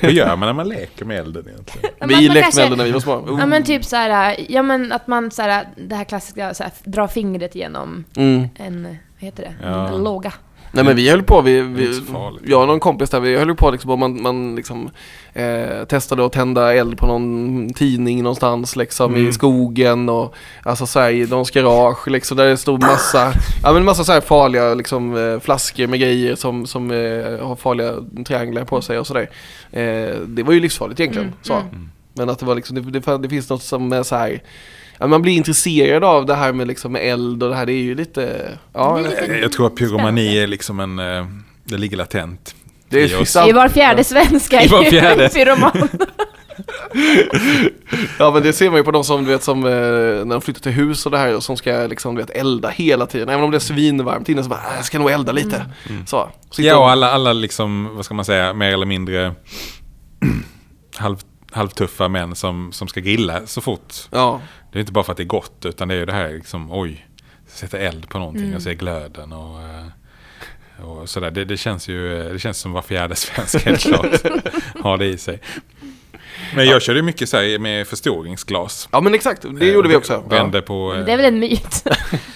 [SPEAKER 2] Hur gör man när man leker med elden
[SPEAKER 3] (laughs)
[SPEAKER 2] egentligen?
[SPEAKER 3] Men att
[SPEAKER 1] Vi
[SPEAKER 3] man
[SPEAKER 1] lekte
[SPEAKER 3] kanske-
[SPEAKER 1] med Mm. elden när vi var små.
[SPEAKER 3] Ja men typ såhär, ja men att man såhär, det här klassiska såhär, dra fingret genom
[SPEAKER 1] Mm.
[SPEAKER 3] en, vad heter det?
[SPEAKER 2] Ja.
[SPEAKER 3] En låga.
[SPEAKER 1] Nej men vi höll på, vi, vi,
[SPEAKER 2] inte så farligt.
[SPEAKER 1] jag och någon kompis där, vi höll på liksom och man, man liksom eh, testade att tända eld på någon tidning någonstans liksom
[SPEAKER 2] Mm.
[SPEAKER 1] i skogen och alltså så här, i någons garage liksom där det
[SPEAKER 2] (laughs)
[SPEAKER 1] stod massa, ja men massa så här farliga liksom eh, flaskor med grejer som, som eh, har farliga trianglar på sig och sådär. Eh, det var ju livsfarligt egentligen
[SPEAKER 3] Mm,
[SPEAKER 1] så.
[SPEAKER 3] mm.
[SPEAKER 1] Men att det var liksom, det, det, fan- det finns något som är så här, ja, man blir intresserad av det här med liksom eld och det här, det är ju lite, ja,
[SPEAKER 3] Det är lite-
[SPEAKER 2] Jag tror att pyromani är liksom en... eh, Det ligger latent.
[SPEAKER 1] det
[SPEAKER 2] i
[SPEAKER 1] är
[SPEAKER 2] oss.
[SPEAKER 1] sant.
[SPEAKER 3] I var fjärde svenska
[SPEAKER 2] I var
[SPEAKER 3] (laughs) är
[SPEAKER 2] fjärde.
[SPEAKER 3] pyroman.
[SPEAKER 1] Ja men det ser man ju på de som du vet som eh, när de flyttar till hus och det här och som ska liksom du vet elda hela tiden. Även om det är svinvarmt inne så bara, "Ah, jag ska nog elda
[SPEAKER 3] Mm.
[SPEAKER 1] lite. Så. Sitter
[SPEAKER 2] Ja, och
[SPEAKER 1] och-
[SPEAKER 2] alla, alla liksom, vad ska man säga, mer eller mindre (clears throat) halv, halvtuffa män som, som ska grilla så fort.
[SPEAKER 1] ja.
[SPEAKER 2] Det är inte bara för att det är gott, utan det är ju det här liksom, oj, sätta eld på
[SPEAKER 1] Mm.
[SPEAKER 2] någonting och se glöden och, eh, och sådär. Det, det känns ju eh, det känns som var fjärde svensk helt klart
[SPEAKER 1] (laughs)
[SPEAKER 2] har det i sig. Men jag körde ju mycket så här med förstoringsglas.
[SPEAKER 1] ja men exakt, Eh, det gjorde vi också. Ja.
[SPEAKER 2] Vände på... eh,
[SPEAKER 3] Det är väl en
[SPEAKER 2] (laughs)
[SPEAKER 3] myt?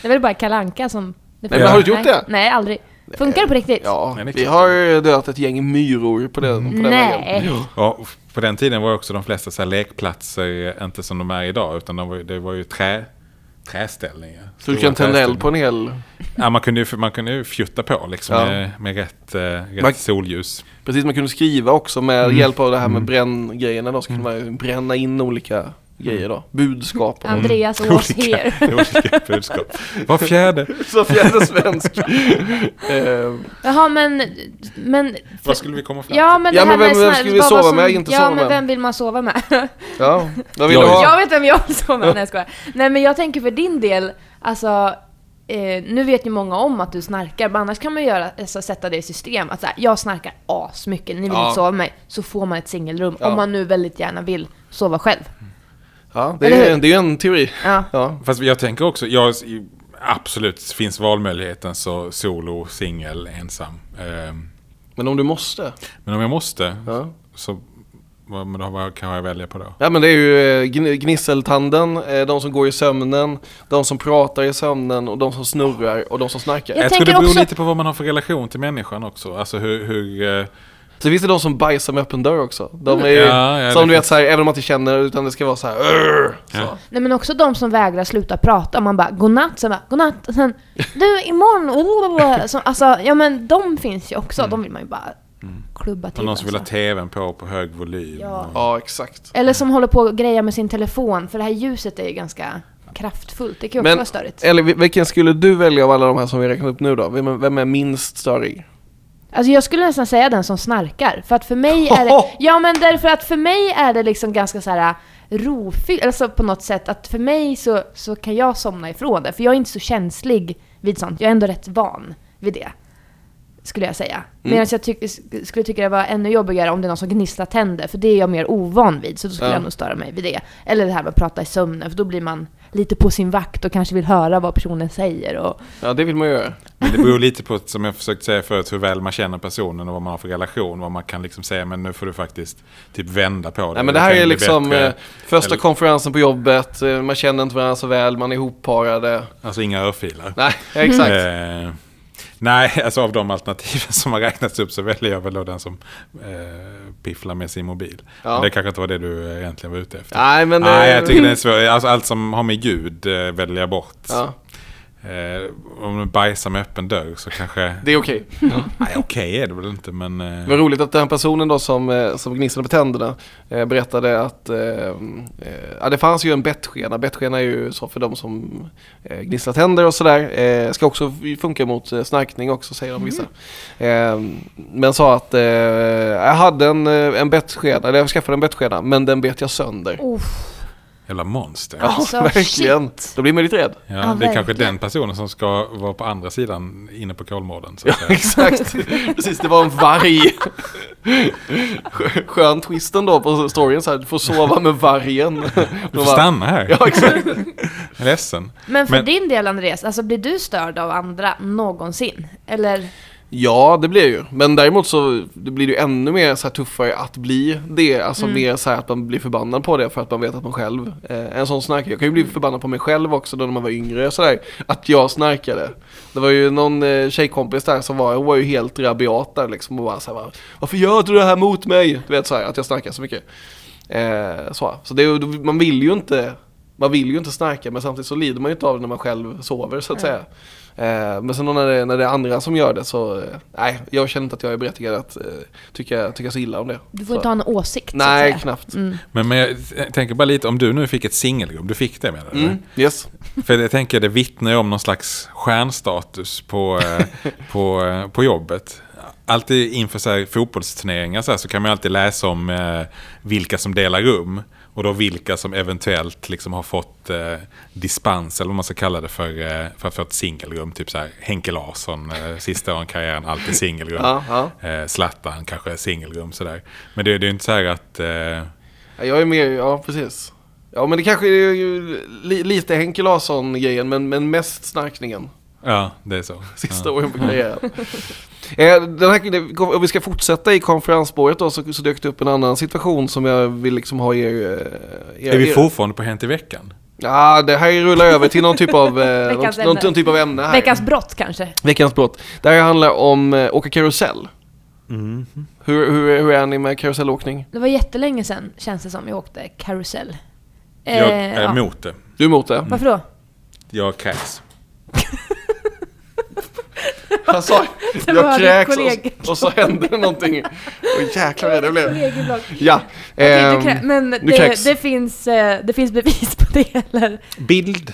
[SPEAKER 3] Det är väl bara Kalanka som...
[SPEAKER 1] men
[SPEAKER 3] det funkar.
[SPEAKER 1] har du gjort det?
[SPEAKER 3] Nej, nej aldrig. Funkar det på riktigt?
[SPEAKER 1] Ja,
[SPEAKER 2] Nej, det är
[SPEAKER 1] vi
[SPEAKER 2] klart.
[SPEAKER 1] har dödat ett gäng myror på den, på den
[SPEAKER 3] Nej.
[SPEAKER 1] vägen.
[SPEAKER 2] Ja, och på den tiden var också de flesta så här lekplatser inte som de är idag, utan de var, ju- det var ju trä, träställningar.
[SPEAKER 1] Så du
[SPEAKER 2] Stora
[SPEAKER 1] kan tända eld på
[SPEAKER 2] träställningar.
[SPEAKER 1] en hel,
[SPEAKER 2] Ja, man kunde ju, man kunde ju fjutta på liksom
[SPEAKER 1] Ja.
[SPEAKER 2] med, med rätt, eh, rätt
[SPEAKER 1] Man-
[SPEAKER 2] solljus.
[SPEAKER 1] precis man kunde skriva också med hjälp av det här med bränngrejerna då, så kunde man ju bränna in olika grejer då, budskap. (laughs) och-
[SPEAKER 3] Andreas
[SPEAKER 2] (laughs)
[SPEAKER 1] Mm.
[SPEAKER 3] was here.
[SPEAKER 2] Mm. olika budskap. Var fjärde.
[SPEAKER 1] Så fjärde (laughs) svensk. Eh,
[SPEAKER 3] Jaha men... men
[SPEAKER 2] Vad skulle vi komma fram
[SPEAKER 3] Ja men det
[SPEAKER 1] Ja,
[SPEAKER 3] här
[SPEAKER 1] men
[SPEAKER 3] med
[SPEAKER 1] vem-
[SPEAKER 3] såna-
[SPEAKER 1] vem skulle vi
[SPEAKER 3] bara vad
[SPEAKER 1] sova med, inte
[SPEAKER 3] ja,
[SPEAKER 1] sova
[SPEAKER 3] men
[SPEAKER 1] med?
[SPEAKER 3] vem vill man sova med?
[SPEAKER 1] ja, vad vill
[SPEAKER 2] Jag
[SPEAKER 1] du
[SPEAKER 2] är-
[SPEAKER 1] ha?
[SPEAKER 3] (laughs) Jag vet vem jag vill sova med, nej jag skojar. Nej men jag tänker för din del, alltså eh, nu vet ju många om att du snarkar, men annars kan man ju göra, alltså, sätta det i system att så här, jag snarkar asmycket, ni vill
[SPEAKER 1] Ja.
[SPEAKER 3] inte sova med mig. Så får man ett singelrum,
[SPEAKER 1] Ja.
[SPEAKER 3] om man nu väldigt gärna vill sova själv.
[SPEAKER 1] Ja, det
[SPEAKER 3] Eller
[SPEAKER 1] är,
[SPEAKER 3] hur?
[SPEAKER 1] det är ju en teori.
[SPEAKER 3] Ja.
[SPEAKER 1] Ja.
[SPEAKER 2] till? Fast jag tänker också, jag, absolut finns valmöjligheten så solo, singel, ensam. Ehm,
[SPEAKER 1] Men om du måste?
[SPEAKER 2] Men om jag måste,
[SPEAKER 1] Ja.
[SPEAKER 2] så vad, men då, vad kan jag välja på då?
[SPEAKER 1] Ja men det är ju eh, gn- gnisseltanden, eh, de som går i sömnen, de som pratar i sömnen och de som snurrar och de som snarkar.
[SPEAKER 3] Ja.
[SPEAKER 2] Jag,
[SPEAKER 3] Jag
[SPEAKER 2] tror det
[SPEAKER 3] tänker
[SPEAKER 2] beror
[SPEAKER 3] också-
[SPEAKER 2] lite på vad man har för relation till människan också. Alltså hur... hur eh,
[SPEAKER 1] Så finns det de som bajsar med öppen dörr också. De är ju,
[SPEAKER 2] Ja, ja,
[SPEAKER 1] som
[SPEAKER 2] det
[SPEAKER 1] du vet så här, även om man inte känner utan det ska vara så här. "Urr", Så.
[SPEAKER 2] Ja.
[SPEAKER 3] Nej men också de som vägrar sluta prata, man bara godnatt, sen bara godnatt, och sen du imorgon, så, alltså ja men de finns ju också, de vill man ju bara klubba till.
[SPEAKER 2] och Mm. någon som vill ha
[SPEAKER 3] alltså.
[SPEAKER 2] tvn på på hög volym.
[SPEAKER 3] Ja.
[SPEAKER 2] Och,
[SPEAKER 1] Ja exakt.
[SPEAKER 3] Eller som håller på och grejer med sin telefon, för det här ljuset är ju ganska kraftfullt. Det kan ju också
[SPEAKER 1] Men-
[SPEAKER 3] vara störigt.
[SPEAKER 1] Eller vil- vilken skulle du välja av alla de här som vi räknat upp nu då? Vem, vem är minst störig?
[SPEAKER 3] Alltså jag skulle nästan säga den som snarkar, för att för mig är det... Ja men därför att för mig är det liksom ganska så här rofyllt, alltså på något sätt att för mig så, så kan jag somna ifrån det, för jag är inte så känslig vid sånt. Jag är ändå rätt van vid det, skulle jag säga. Medan jag tyck, sk- skulle tycka det var ännu jobbigare om det är någon som gnisslar tänder, för det är jag mer ovan vid, så då skulle
[SPEAKER 1] Ja.
[SPEAKER 3] jag nog störa mig vid det. Eller det här med att prata i sömnen, för då blir man lite på sin vakt och kanske vill höra vad personen säger och...
[SPEAKER 1] Ja det vill man ju göra.
[SPEAKER 2] Men det beror lite på, som jag försökt säga förut, hur väl man känner personen och vad man har för relation. Vad man kan liksom säga, men nu får du faktiskt typ vända på det.
[SPEAKER 1] Nej men det här
[SPEAKER 2] kan
[SPEAKER 1] är
[SPEAKER 2] bli
[SPEAKER 1] liksom
[SPEAKER 2] bättre.
[SPEAKER 1] eh, första
[SPEAKER 2] Eller-
[SPEAKER 1] konferensen på jobbet, eh, man känner inte varandra så väl, man är ihopparade.
[SPEAKER 2] Alltså inga örfilar.
[SPEAKER 1] Nej (laughs) exakt.
[SPEAKER 2] Eh, nej, (laughs) alltså av de alternativen som har räknats upp så väljer jag väl då den som eh, pifflar med sin mobil.
[SPEAKER 1] Ja.
[SPEAKER 2] Men det kanske inte var det du eh, egentligen var ute efter.
[SPEAKER 1] Nej men...
[SPEAKER 2] Nej,
[SPEAKER 1] eh,
[SPEAKER 2] jag tycker det är svårt. Alltså, allt som har med Gud eh, väljer jag bort.
[SPEAKER 1] (laughs) ja,
[SPEAKER 2] Eh, om du bajsar med öppen dörr så kanske...
[SPEAKER 1] (laughs) det är okej.
[SPEAKER 2] Nej, okej är det väl inte, men... Eh,
[SPEAKER 1] Det var roligt att den personen då som, eh, som gnisslade på tänderna eh, berättade att eh, eh, ja, det fanns ju en bettskena. Bettskena är ju så för de som eh, gnisslar tänder och sådär. Eh, ska också funka mot eh, snarkning också säger
[SPEAKER 3] Mm.
[SPEAKER 1] de vissa. Eh, men sa att eh, jag hade en, eh, en bettskena, eller jag skaffade en bettskena men den bet jag sönder.
[SPEAKER 3] Uff.
[SPEAKER 2] Jävla monster.
[SPEAKER 1] Ja, (laughs)
[SPEAKER 3] Alltså,
[SPEAKER 1] verkligen.
[SPEAKER 3] shit.
[SPEAKER 1] Då blir man lite rädd.
[SPEAKER 2] Ja,
[SPEAKER 3] Ja,
[SPEAKER 2] det är kanske
[SPEAKER 3] verkligen.
[SPEAKER 2] den personen som ska vara på andra sidan inne på Kolmården. Så
[SPEAKER 1] Ja,
[SPEAKER 2] att säga.
[SPEAKER 1] (laughs) exakt. Precis, det var en varg. Skö- Skön twisten då på storyn så här, du får sova med vargen. (laughs)
[SPEAKER 2] Du får stanna här. (laughs)
[SPEAKER 1] Ja, exakt.
[SPEAKER 2] Ledsen.
[SPEAKER 3] Men för
[SPEAKER 2] Men-
[SPEAKER 3] din del Andreas, alltså blir du störd av andra någonsin? Eller?
[SPEAKER 1] Ja, det blir ju. Men däremot så det blir det ju ännu mer så här tuffare att bli det. Alltså mer så här att man blir förbannad på det för att man vet att man själv eh, en sån snarkare. Jag kan ju bli förbannad på mig själv också då när man var yngre och sådär. Att jag snarkade. Det var ju någon eh, tjejkompis där som var, hon var ju helt rabiat där liksom och bara så här, bara, Varför gör du det här mot mig? Du vet så här, att jag snarkar så mycket. Eh, så så det, är ju- man vill ju inte man vill ju inte snarka men samtidigt så lider man ju inte av det när man själv sover så att säga. Eh, men sen då när det, när det är andra som gör det så, eh, nej, jag känner inte att jag är berättigad att eh, tycka, tycka så illa om det.
[SPEAKER 3] Du får
[SPEAKER 1] så.
[SPEAKER 3] inte ha en åsikt
[SPEAKER 1] Nej,
[SPEAKER 3] så att säga.
[SPEAKER 1] knappt.
[SPEAKER 2] Men, men jag tänker bara lite, om du nu fick ett singelrum, du fick det menar du?
[SPEAKER 1] Mm, yes.
[SPEAKER 2] För jag tänker det vittnar ju om någon slags stjärnstatus på, eh,
[SPEAKER 1] (laughs)
[SPEAKER 2] på, eh, på jobbet. Alltid inför så här fotbollsturneringar så, här, så kan man ju alltid läsa om eh, vilka som delar rum. Och då vilka som eventuellt liksom har fått eh, dispens eller vad man ska kalla det för, eh, för att få ett singelrum. Typ så här Henke Larsson, eh, sista åren i karriären, alltid singelrum.
[SPEAKER 1] Ja, ja.
[SPEAKER 2] Eh, Zlatan kanske singelrum sådär. Men det, det är ju inte så här att... Eh,
[SPEAKER 1] Ja, Jag är med, ja precis. Ja men det kanske är ju li, lite Henke Larsson-grejen men, men mest snarkningen.
[SPEAKER 2] ja, det är så.
[SPEAKER 1] Sista
[SPEAKER 2] ja.
[SPEAKER 1] åren på karriären. (laughs) Eh, Den här, om vi ska fortsätta i konferensspåret då så, så dök det upp en annan situation som jag vill liksom ha er... eh, er
[SPEAKER 2] Är vi
[SPEAKER 1] er-
[SPEAKER 2] fortfarande på Hänt i veckan?
[SPEAKER 1] Ja, det här rullar över till någon typ av, eh, någon,
[SPEAKER 3] (laughs) Veckans
[SPEAKER 1] någon,
[SPEAKER 3] ämne.
[SPEAKER 1] någon typ av ämne här.
[SPEAKER 3] Veckans brott kanske?
[SPEAKER 1] Veckans brott. Det här handlar om eh, åka karusell.
[SPEAKER 2] Mm.
[SPEAKER 1] Hur, hur, hur är ni med karusellåkning?
[SPEAKER 3] Det var jättelänge sedan känns det som jag åkte karusell.
[SPEAKER 2] Jag
[SPEAKER 3] Eh,
[SPEAKER 2] är
[SPEAKER 3] ja.
[SPEAKER 2] emot det.
[SPEAKER 1] Du är emot det?
[SPEAKER 3] Varför då?
[SPEAKER 2] Jag kräks.
[SPEAKER 1] (laughs) Han sa,
[SPEAKER 3] (laughs) Det var
[SPEAKER 1] jag
[SPEAKER 3] din
[SPEAKER 1] kräks
[SPEAKER 3] kollega.
[SPEAKER 1] och, och så hände det någonting. Och jäklar vad det blev.
[SPEAKER 3] Kollegieblock.
[SPEAKER 1] Ja.
[SPEAKER 3] Okej,
[SPEAKER 1] ehm,
[SPEAKER 3] du
[SPEAKER 1] (laughs)
[SPEAKER 3] krä- men
[SPEAKER 1] kräks.
[SPEAKER 3] det, det, finns, eh, det finns bevis på det eller?
[SPEAKER 2] Bild.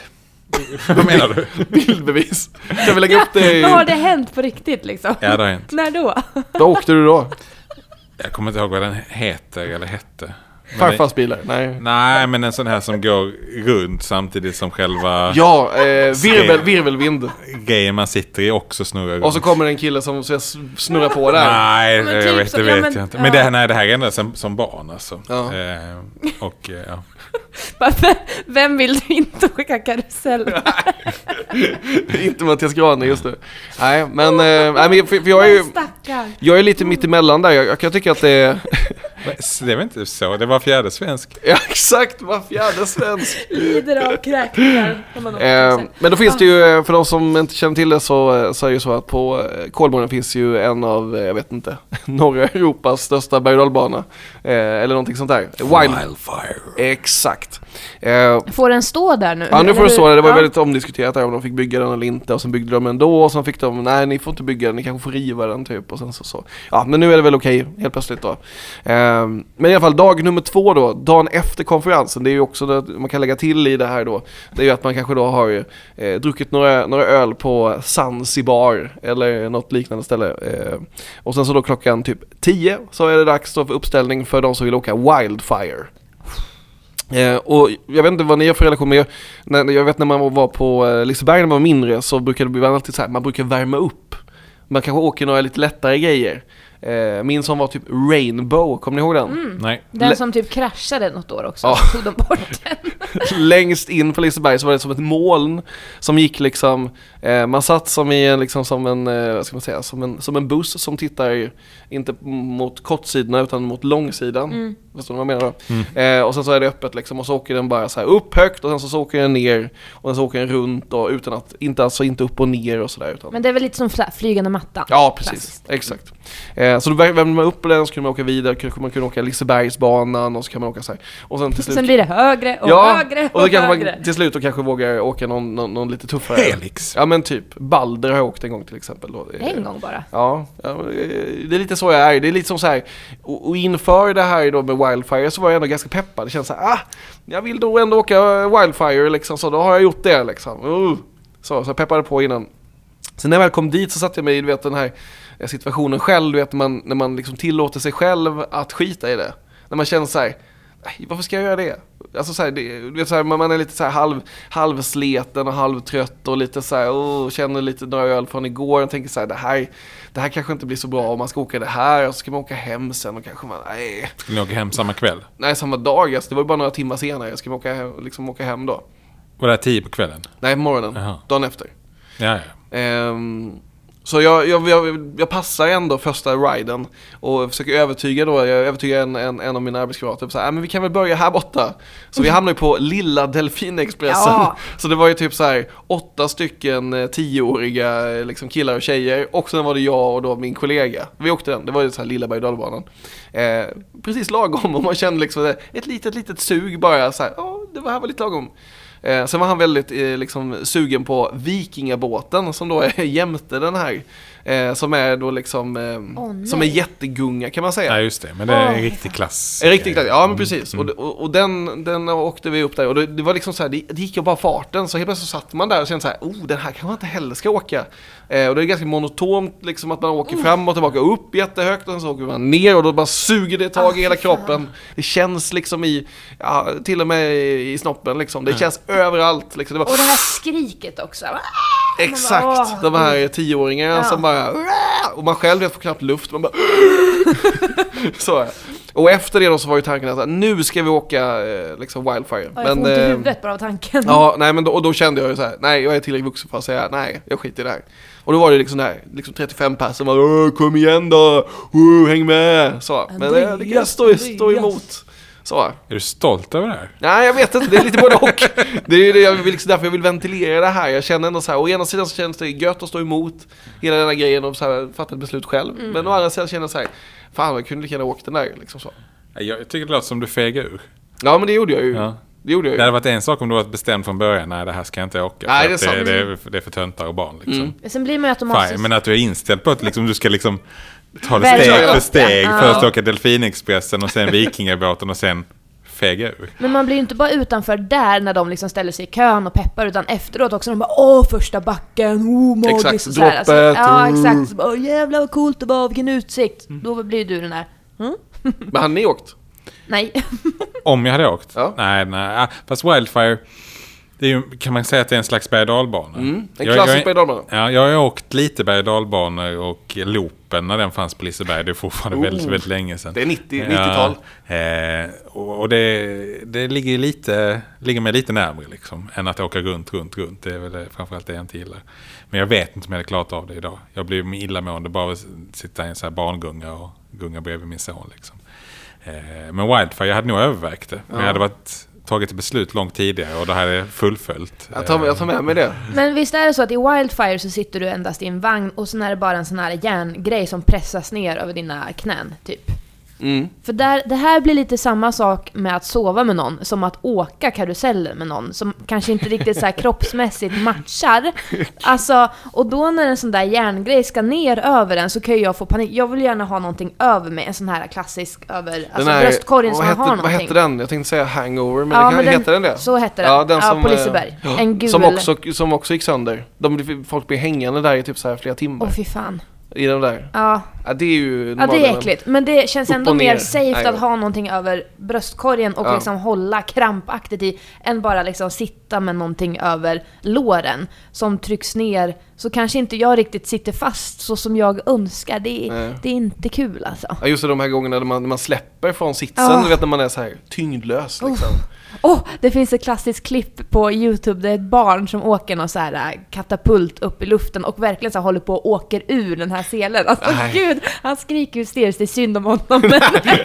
[SPEAKER 2] Vad menar du?
[SPEAKER 1] bildbevis. Kan vi lägga upp
[SPEAKER 3] (laughs)
[SPEAKER 1] det i...
[SPEAKER 3] Har det hänt på riktigt liksom?
[SPEAKER 2] Ja, det har hänt.
[SPEAKER 3] När då?
[SPEAKER 1] Vad åkte du då?
[SPEAKER 2] Jag kommer inte ihåg vad den heter eller hette. Men
[SPEAKER 1] Farfars bilar? Nej.
[SPEAKER 2] det- Nej, men en sån här som går runt samtidigt som själva
[SPEAKER 1] Ja, eh, virvel,
[SPEAKER 2] Skrev.
[SPEAKER 1] virvelvind.
[SPEAKER 2] grejen man sitter i också snurrar runt.
[SPEAKER 1] Och så kommer det en kille som så jag snurrar på där.
[SPEAKER 2] Nej,
[SPEAKER 3] Men
[SPEAKER 2] jag
[SPEAKER 3] typ
[SPEAKER 2] vet,
[SPEAKER 3] så-
[SPEAKER 2] det
[SPEAKER 3] ja,
[SPEAKER 2] vet
[SPEAKER 3] men-
[SPEAKER 2] jag inte.
[SPEAKER 3] ja.
[SPEAKER 2] Men det, här- nej, det här är ända som, som barn alltså.
[SPEAKER 1] Ja.
[SPEAKER 2] Eh, och, eh, ja.
[SPEAKER 3] Varför? Vem vill du inte åka karusell med?
[SPEAKER 1] (laughs) Inte Mattias Grane just nu. Nej, men, eh, nej, men för, för jag är ju...
[SPEAKER 3] Stackarn.
[SPEAKER 1] Jag är lite mitt emellan där, jag, jag kan tycka att det är... (laughs)
[SPEAKER 2] Men Det var inte så, det var fjärde svensk.
[SPEAKER 1] Ja, exakt, var fjärde svensk!
[SPEAKER 3] Lider av kräkningar. när man åker
[SPEAKER 1] Eh,
[SPEAKER 3] karusell.
[SPEAKER 1] men då finns det ju, eh, för de som inte känner till det så, eh, så är det ju så att på eh, Kolmården finns ju en av, eh, jag vet inte, (laughs) norra Europas största berg och dalbana. eh, Eller någonting sånt där. Wild.
[SPEAKER 2] Wildfire.
[SPEAKER 1] Exakt. Eh,
[SPEAKER 3] Får den stå där nu?
[SPEAKER 1] Ja nu får
[SPEAKER 3] Eller
[SPEAKER 1] det stå där, det var
[SPEAKER 3] hur?
[SPEAKER 1] väldigt omdiskuterat där om de fick bygga den eller inte och sen byggde de ändå och sen fick de, nej ni får inte bygga den, ni kanske får riva den typ och sen så så. Ja men nu är det väl okej helt plötsligt då. Ehm, men i alla fall dag nummer två då, dagen efter konferensen, det är ju också det man kan lägga till i det här då. Det är ju att man kanske då har eh, druckit några, några öl på Zanzibar eller något liknande ställe. Eh, och sen så då klockan typ 10 så är det dags då för uppställning för de som vill åka Wildfire. Eh, och jag vet inte vad ni har för relation, men jag, när, jag vet när man var på eh, Liseberg när man var mindre så brukade det bli alltid så här, man brukar värma upp. Man kanske åker några lite lättare grejer. Eh, min som var typ Rainbow, kommer ni ihåg den?
[SPEAKER 2] Nej.
[SPEAKER 3] Den
[SPEAKER 1] Le-
[SPEAKER 3] som typ kraschade något år också,
[SPEAKER 1] Ja.
[SPEAKER 3] tog de bort
[SPEAKER 1] (laughs)
[SPEAKER 3] den.
[SPEAKER 1] längst in på Liseberg så var det som ett moln som gick liksom, eh, man satt som i en, liksom som en, eh, vad ska man säga, som en, som en buss som tittar inte m- mot kortsidorna utan mot långsidan.
[SPEAKER 3] Mm.
[SPEAKER 1] Förstår ni vad jag menar då? Eh, och sen så är det öppet liksom och så åker den bara så här upp högt och sen så, så åker den ner och sen så åker den runt och utan att, inte alltså inte upp och ner och sådär utan
[SPEAKER 3] Men det är väl lite som fla- flygande mattan?
[SPEAKER 1] Ja, precis.
[SPEAKER 3] Klassiskt.
[SPEAKER 1] Exakt. Eh, så då värmde man upp den, så kunde man åka vidare, kunde, man kunde åka Lisebergsbanan och så kan man åka så här. Och sen till slut
[SPEAKER 3] (laughs) Sen blir det högre och högre och,
[SPEAKER 1] och då kanske
[SPEAKER 3] högre.
[SPEAKER 1] man till slut då kanske vågar åka någon, någon, någon lite tuffare.
[SPEAKER 2] Helix.
[SPEAKER 1] Ja men typ, Balder har jag åkt en gång till exempel. Då.
[SPEAKER 3] En gång bara.
[SPEAKER 1] Ja, ja, men, eh, det är lite så jag är. Det är lite som så här, och, och inför det här då med Wildfire så var jag ändå ganska peppad. Det känns så här, ah, jag vill då ändå åka Wildfire liksom, så då har jag gjort det liksom. Uh. Så, så jag peppade på innan. Sen när jag väl kom dit så satte jag mig i du vet, den här eh, situationen själv, du vet när man, när man liksom tillåter sig själv att skita i det. När man känner så här, "Nej, varför ska jag göra det? Alltså så här, det, du vet, så här, man man är lite så här halv, halvsleten och halvtrött och lite så här, oh, känner lite några öl från igår och tänker så här, det här, det här kanske inte blir så bra om man ska åka det här och så ska man åka hem sen och kanske man, nej.
[SPEAKER 2] Skulle ni åka hem samma kväll?
[SPEAKER 1] Nej, samma dag, alltså, det var ju bara några timmar senare, ska man åka hem, liksom åka hem då?
[SPEAKER 2] Var det här tio på kvällen?
[SPEAKER 1] Nej, morgonen,
[SPEAKER 2] Jaha.
[SPEAKER 1] dagen efter.
[SPEAKER 2] Ja, ja.
[SPEAKER 1] Ehm, så jag, jag, jag, jag passar ändå första riden och försöker övertyga då, jag övertygar en, en, en av mina arbetskamrater, så här, "Ah, men vi kan väl börja här borta. Så vi hamnar ju på Lilla Delfinexpressen.
[SPEAKER 3] Ja.
[SPEAKER 1] (laughs) Så det var ju typ så här åtta stycken eh, tioåriga eh, liksom, killar och tjejer och sen var det jag och då min kollega. Vi åkte den, det var ju så här Lilla berg och eh, Precis lagom (laughs) och man kände liksom det- ett litet, litet sug bara så här, ja det var här var lite lagom. Eh, sen var han väldigt eh, liksom, sugen på Vikingabåten som då är (laughs) jämte den här. Eh, som är då liksom, eh,
[SPEAKER 3] Åh, nej.
[SPEAKER 1] som är jättegunga kan man säga.
[SPEAKER 2] ja, just det. Men det är en
[SPEAKER 3] Åh,
[SPEAKER 2] riktig klass.
[SPEAKER 1] En riktig klassiker, ja men precis. Och, och, och den, den åkte vi upp där och det, det var liksom så här, det, det gick ju bara farten. Så helt plötsligt så satt man där och kände så här, oh den här kan man inte heller ska åka. Eh, och det är ganska monotont liksom att man åker fram och tillbaka, upp jättehögt och sen så åker man ner och då bara suger det tag i hela kroppen. Det känns liksom i, ja, till och med i, i snoppen liksom. Det känns överallt liksom. Det var,
[SPEAKER 3] Och det här skriket också. Ah,
[SPEAKER 1] Exakt,
[SPEAKER 3] åh,
[SPEAKER 1] de här tioåringarna
[SPEAKER 3] Ja.
[SPEAKER 1] som bara "Hurra!" Och man själv vet, får knappt luft, man bara (laughs) Så är det. Och efter det då så var ju tanken att nu ska vi åka eh, liksom Wildfire
[SPEAKER 3] Ja, jag får ont i
[SPEAKER 1] eh,
[SPEAKER 3] huvudet bara av tanken.
[SPEAKER 1] Ja, nej men då, och då kände jag ju så här, nej jag är tillräckligt vuxen för att säga nej, jag skiter i det här. Och då var det liksom där, liksom 35 pers som bara "Åh, kom igen då, Åh, häng med! Så, men eh, det kan jag stå, stå emot. Så.
[SPEAKER 2] Är du stolt över det här?
[SPEAKER 1] Nej, jag vet inte. Det är lite både och. Det är ju det jag vill, liksom därför jag vill ventilera det här. Jag känner ändå så här, å ena sidan så känns det gött att stå emot hela den här grejen och så här, fatta ett beslut själv.
[SPEAKER 3] Mm.
[SPEAKER 1] Men å andra sidan känner jag så här, fan jag kunde lika gärna åkt den där liksom så.
[SPEAKER 2] Jag, jag tycker det låter som du fegar ur.
[SPEAKER 1] Ja, men det gjorde jag ju.
[SPEAKER 2] Ja.
[SPEAKER 1] Det gjorde jag
[SPEAKER 2] Det
[SPEAKER 1] ju.
[SPEAKER 2] hade varit en sak om du varit bestämd från början. Nej, det här ska jag inte åka.
[SPEAKER 1] Nej,
[SPEAKER 2] för
[SPEAKER 1] det är
[SPEAKER 2] att
[SPEAKER 1] sant. Mm.
[SPEAKER 2] det, är, det är för töntar och barn liksom.
[SPEAKER 3] Men Sen blir man ju automatiskt...
[SPEAKER 2] Fine, men att du är inställd på att liksom, du ska liksom ta det
[SPEAKER 3] Välja
[SPEAKER 2] steg
[SPEAKER 1] upp
[SPEAKER 2] för
[SPEAKER 1] det.
[SPEAKER 2] steg.
[SPEAKER 3] Ja.
[SPEAKER 2] Först åka Delfinexpressen och sen Vikingabåten och sen fega ur.
[SPEAKER 3] Men man blir ju inte bara utanför där när de liksom ställer sig i kön och peppar utan efteråt också. De bara åh första backen, oh magiskt
[SPEAKER 1] Exakt,
[SPEAKER 3] och så här. Alltså,
[SPEAKER 1] droppet,
[SPEAKER 3] ja
[SPEAKER 1] oh.
[SPEAKER 3] exakt, så bara, åh jävlar vad coolt det var, vilken utsikt. Då blir ju du den där, "Mm?
[SPEAKER 1] Men han är åkt.
[SPEAKER 3] nej. (laughs)
[SPEAKER 2] Om jag hade åkt?
[SPEAKER 1] Ja.
[SPEAKER 2] Nej, nej. Ah, Fast Wildfire, det är ju, kan man säga att det är en slags berg och mm,
[SPEAKER 1] En klassisk berg och dalbana.
[SPEAKER 2] Ja, jag har ju åkt lite berg och dalbanor och loopen när den fanns på Liseberg. Det är fortfarande
[SPEAKER 1] Oh.
[SPEAKER 2] väldigt, väldigt länge sedan.
[SPEAKER 1] Det är 90 90-tal.
[SPEAKER 2] Ja, eh, och och det, det ligger ju lite, ligger mig lite närmare liksom, än att åka runt, runt, runt. Det är väl det- framförallt det jag inte gillar. Men jag vet inte om jag hade klarat av det idag. Jag blir illamående bara av att sitta i en sån här barngunga och gunga bredvid min son. Liksom. Eh, men Wildfire, jag hade nog övervägt det. Men jag hade varit, tagit ett beslut långt tidigare och det här är fullföljt.
[SPEAKER 1] Jag tar, jag tar med mig det.
[SPEAKER 3] Men visst är det så att i Wildfire så sitter du endast i en vagn och sen är det bara en sån här järngrej som pressas ner över dina knän typ.
[SPEAKER 1] Mm.
[SPEAKER 3] För där, det här blir lite samma sak med att sova med någon som att åka karusellen med någon som kanske inte riktigt så här kroppsmässigt matchar. Alltså, och då när en sån där järngrej ska ner över den så kan ju jag få panik. Jag vill gärna ha någonting över mig, en sån här klassisk över alltså
[SPEAKER 1] här-
[SPEAKER 3] bröstkorgen
[SPEAKER 1] vad
[SPEAKER 3] som man
[SPEAKER 1] hette,
[SPEAKER 3] har någonting.
[SPEAKER 1] Vad hette den? Jag tänkte säga hangover, men,
[SPEAKER 3] Ja,
[SPEAKER 1] det kan,
[SPEAKER 3] men den-
[SPEAKER 1] heter den det?
[SPEAKER 3] så hette den. Ja, på
[SPEAKER 1] eh,
[SPEAKER 3] Liseberg. En gul.
[SPEAKER 1] Som också, som också gick sönder. De, folk blir hängande där i typ så här flera timmar.
[SPEAKER 3] Åh fy fan.
[SPEAKER 1] I den där.
[SPEAKER 3] Ja,
[SPEAKER 1] Ja, det är ju
[SPEAKER 3] ja det
[SPEAKER 1] normalen.
[SPEAKER 3] är äckligt. Men det känns
[SPEAKER 1] Upp
[SPEAKER 3] ändå
[SPEAKER 1] och
[SPEAKER 3] mer
[SPEAKER 1] ner.
[SPEAKER 3] safe
[SPEAKER 1] Nej,
[SPEAKER 3] att
[SPEAKER 1] ja.
[SPEAKER 3] ha någonting över bröstkorgen och
[SPEAKER 1] Ja.
[SPEAKER 3] liksom hålla krampaktigt i än bara liksom sitta med någonting över låren som trycks ner. Så kanske inte jag riktigt sitter fast så som jag önskar. Det är,
[SPEAKER 1] Nej.
[SPEAKER 3] det är inte kul alltså.
[SPEAKER 1] Ja, just det, de här gångerna när man, när man släpper från sitsen,
[SPEAKER 3] Ah.
[SPEAKER 1] du vet när man är så här tyngdlös
[SPEAKER 3] Oh,
[SPEAKER 1] liksom.
[SPEAKER 3] Åh, det finns ett klassiskt klipp på YouTube. Det är ett barn som åker någon så här äh, katapult upp i luften och verkligen så här håller på och åker ur den här selen. Alltså
[SPEAKER 1] Nej.
[SPEAKER 3] gud, han skriker hysteriskt. Det är synd
[SPEAKER 1] (laughs)
[SPEAKER 3] om honom. Men, men, men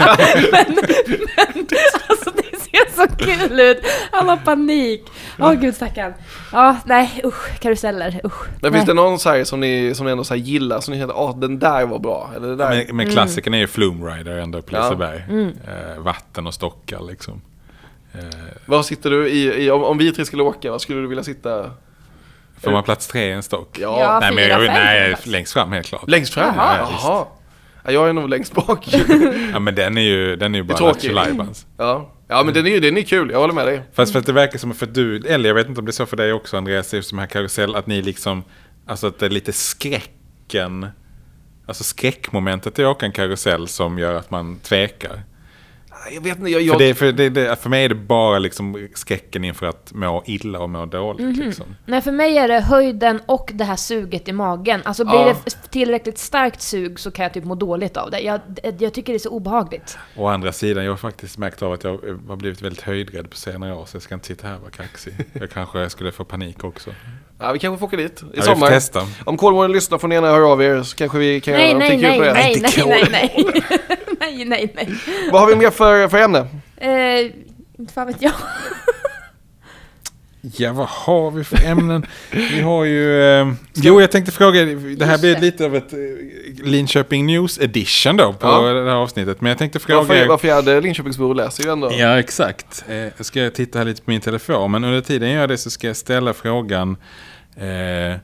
[SPEAKER 3] alltså det ser så kul ut. Han har panik. Åh gud stackarn. Ja, nej usch. Karuseller, usch.
[SPEAKER 1] Där
[SPEAKER 3] nej.
[SPEAKER 1] finns det någon så här som ni, som ni ändå så här gillar, som ni känner att ah, den där var bra, eller det där.
[SPEAKER 2] Eh, Men, men klassikern är ju Flume Rider ändå på
[SPEAKER 1] Mm. Ja. Mm.
[SPEAKER 2] Liseberg. Eh, vatten och stockar liksom. Eh,
[SPEAKER 1] Var sitter du i, i om, om vi tre skulle åka, var skulle du vilja sitta?
[SPEAKER 2] Får man plats tre i en stock?
[SPEAKER 1] Ja. Ja,
[SPEAKER 2] nej, men
[SPEAKER 3] fyra,
[SPEAKER 2] jag,
[SPEAKER 3] fem
[SPEAKER 2] nej,
[SPEAKER 3] plats.
[SPEAKER 2] längst fram helt klart.
[SPEAKER 1] Längst fram?
[SPEAKER 2] Jaha.
[SPEAKER 1] Jaha. Jaha. Ja, jag är nog längst
[SPEAKER 3] (laughs)
[SPEAKER 1] bak.
[SPEAKER 2] Ja, men den är ju, den är ju bara
[SPEAKER 1] tråkig.
[SPEAKER 2] Lattjo Lajbans.
[SPEAKER 1] ja. ja, men den är ju den är kul, jag håller med dig.
[SPEAKER 2] Fast för att det verkar som för du, eller jag vet inte om det är så för dig också Andreas, just de här karusell, att ni liksom, alltså att det är lite skräcken, alltså skräckmomentet i att åka en karusell som gör att man tvekar.
[SPEAKER 1] Jag vet inte, jag... jag
[SPEAKER 2] För, det, för, det, det, för mig är det bara liksom skräcken inför att må illa och må dåligt.
[SPEAKER 1] Mhm.
[SPEAKER 2] Liksom.
[SPEAKER 3] Nej, för mig är det höjden och det här suget i magen. Alltså blir
[SPEAKER 1] Ja.
[SPEAKER 3] det f- tillräckligt starkt sug så kan jag typ må dåligt av det. Jag, det- jag tycker det är så obehagligt.
[SPEAKER 2] Å andra sidan, jag har faktiskt märkt av att jag har blivit väldigt höjdrädd på senare år, så jag ska inte sitta här och vara kaxig. Jag kanske skulle få panik också.
[SPEAKER 1] ja, vi kanske får åka dit i
[SPEAKER 2] vi får
[SPEAKER 1] sommar.
[SPEAKER 2] testa.
[SPEAKER 1] Om Kolmården lyssnar får ni gärna höra av er så kanske vi kan
[SPEAKER 3] Nej,
[SPEAKER 1] göra
[SPEAKER 3] nej,
[SPEAKER 1] någonting
[SPEAKER 3] nej,
[SPEAKER 1] kul på det.
[SPEAKER 3] nej, nej, nej, nej. nej, (laughs) nej, nej.
[SPEAKER 1] Vad har vi mer för, för ämne?
[SPEAKER 3] Eh, Inte fan vet jag.
[SPEAKER 2] Ja, vad har vi för ämnen? Vi har ju... Eh, jo, jag tänkte fråga, det här
[SPEAKER 3] Just
[SPEAKER 2] blir
[SPEAKER 3] det.
[SPEAKER 2] lite av ett eh, Linköping News edition då på
[SPEAKER 1] Ja.
[SPEAKER 2] det här avsnittet. Men jag tänkte
[SPEAKER 1] Var,
[SPEAKER 2] fråga...
[SPEAKER 1] för, var fjärde Linköpingsbo läser ju ändå.
[SPEAKER 2] Ja, exakt. Eh, jag ska titta här lite på min telefon, men under tiden jag gör det så ska jag ställa frågan eh,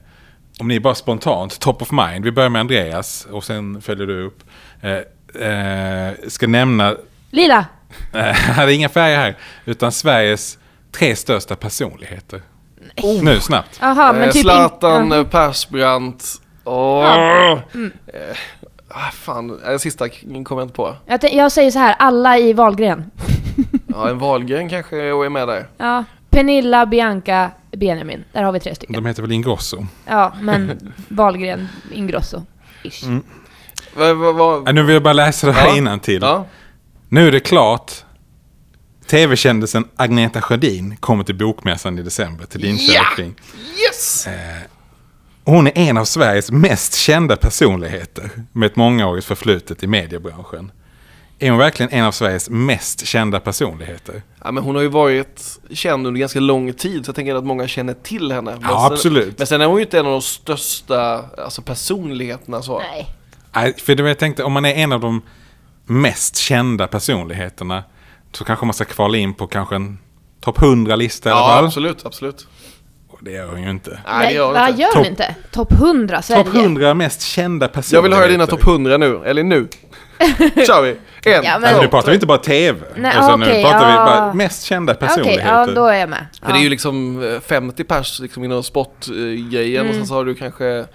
[SPEAKER 2] om ni bara spontant, top of mind, vi börjar med Andreas och sen följer du upp. Eh, eh, ska nämna,
[SPEAKER 3] Lila!
[SPEAKER 2] eh, det är inga färger (laughs) här, utan Sveriges tre största personligheter.
[SPEAKER 1] Oh.
[SPEAKER 2] Nu snabbt.
[SPEAKER 3] Jaha, men
[SPEAKER 1] eh,
[SPEAKER 3] typ... in-
[SPEAKER 1] Zlatan,
[SPEAKER 3] Ja.
[SPEAKER 1] eh, Persbrandt och...
[SPEAKER 3] Ja.
[SPEAKER 1] Eh, ah, fan, eh, sista k- kommer jag inte på.
[SPEAKER 3] Jag, tän- jag säger så här, alla i Wahlgren.
[SPEAKER 1] Ja, en Wahlgren kanske och är med där.
[SPEAKER 3] Ja. Pernilla, Bianca, Benjamin. Där har vi tre stycken.
[SPEAKER 2] De heter väl Ingrosso?
[SPEAKER 3] Ja, men (laughs) Wahlgren, Ingrosso. Ish.
[SPEAKER 1] Va, va, va?
[SPEAKER 2] Äh, nu vill jag bara läsa det här
[SPEAKER 1] Ja.
[SPEAKER 2] innantill.
[SPEAKER 1] Ja.
[SPEAKER 2] Nu är det klart. TV-kändisen Agneta Sjödin kommer till Bokmässan i december till Linköping.
[SPEAKER 1] Yes!
[SPEAKER 2] Hon är en av Sveriges mest kända personligheter med ett mångårigt förflutet i mediebranschen. Är hon verkligen en av Sveriges mest kända personligheter?
[SPEAKER 1] Ja, men hon har ju varit känd under ganska lång tid så jag tänker att många känner till henne. Men
[SPEAKER 2] Ja,
[SPEAKER 1] sen,
[SPEAKER 2] absolut.
[SPEAKER 1] Men sen är hon ju inte en av de största alltså, personligheterna så.
[SPEAKER 3] Nej.
[SPEAKER 2] Nej, För det var jag tänkte, om man är en av de mest kända personligheterna så kanske man ska kvala in på kanske en topp 100-lista i alla
[SPEAKER 1] Ja,
[SPEAKER 2] fall.
[SPEAKER 1] absolut, absolut.
[SPEAKER 2] Och det gör hon ju inte.
[SPEAKER 1] Nej, det gör hon
[SPEAKER 3] vad
[SPEAKER 1] inte.
[SPEAKER 3] gör
[SPEAKER 2] Topp-
[SPEAKER 3] hon inte? Topp 100 Sverige.
[SPEAKER 2] Topp 100 mest kända personligheter.
[SPEAKER 1] Jag vill höra dina topp 100 nu, eller
[SPEAKER 3] (laughs)
[SPEAKER 1] nu. kör vi! En,
[SPEAKER 3] Ja, men-
[SPEAKER 2] Nej, men nu
[SPEAKER 1] två,
[SPEAKER 2] pratar vi inte bara TV.
[SPEAKER 3] Nej,
[SPEAKER 2] nu
[SPEAKER 3] okej,
[SPEAKER 2] pratar vi
[SPEAKER 3] ja.
[SPEAKER 2] bara mest kända
[SPEAKER 3] Okej,
[SPEAKER 2] personligheter.
[SPEAKER 3] ja, då är jag med. Ja.
[SPEAKER 1] För det är ju liksom eh, 50 pers liksom inom sportgrejen och sen så har du kanske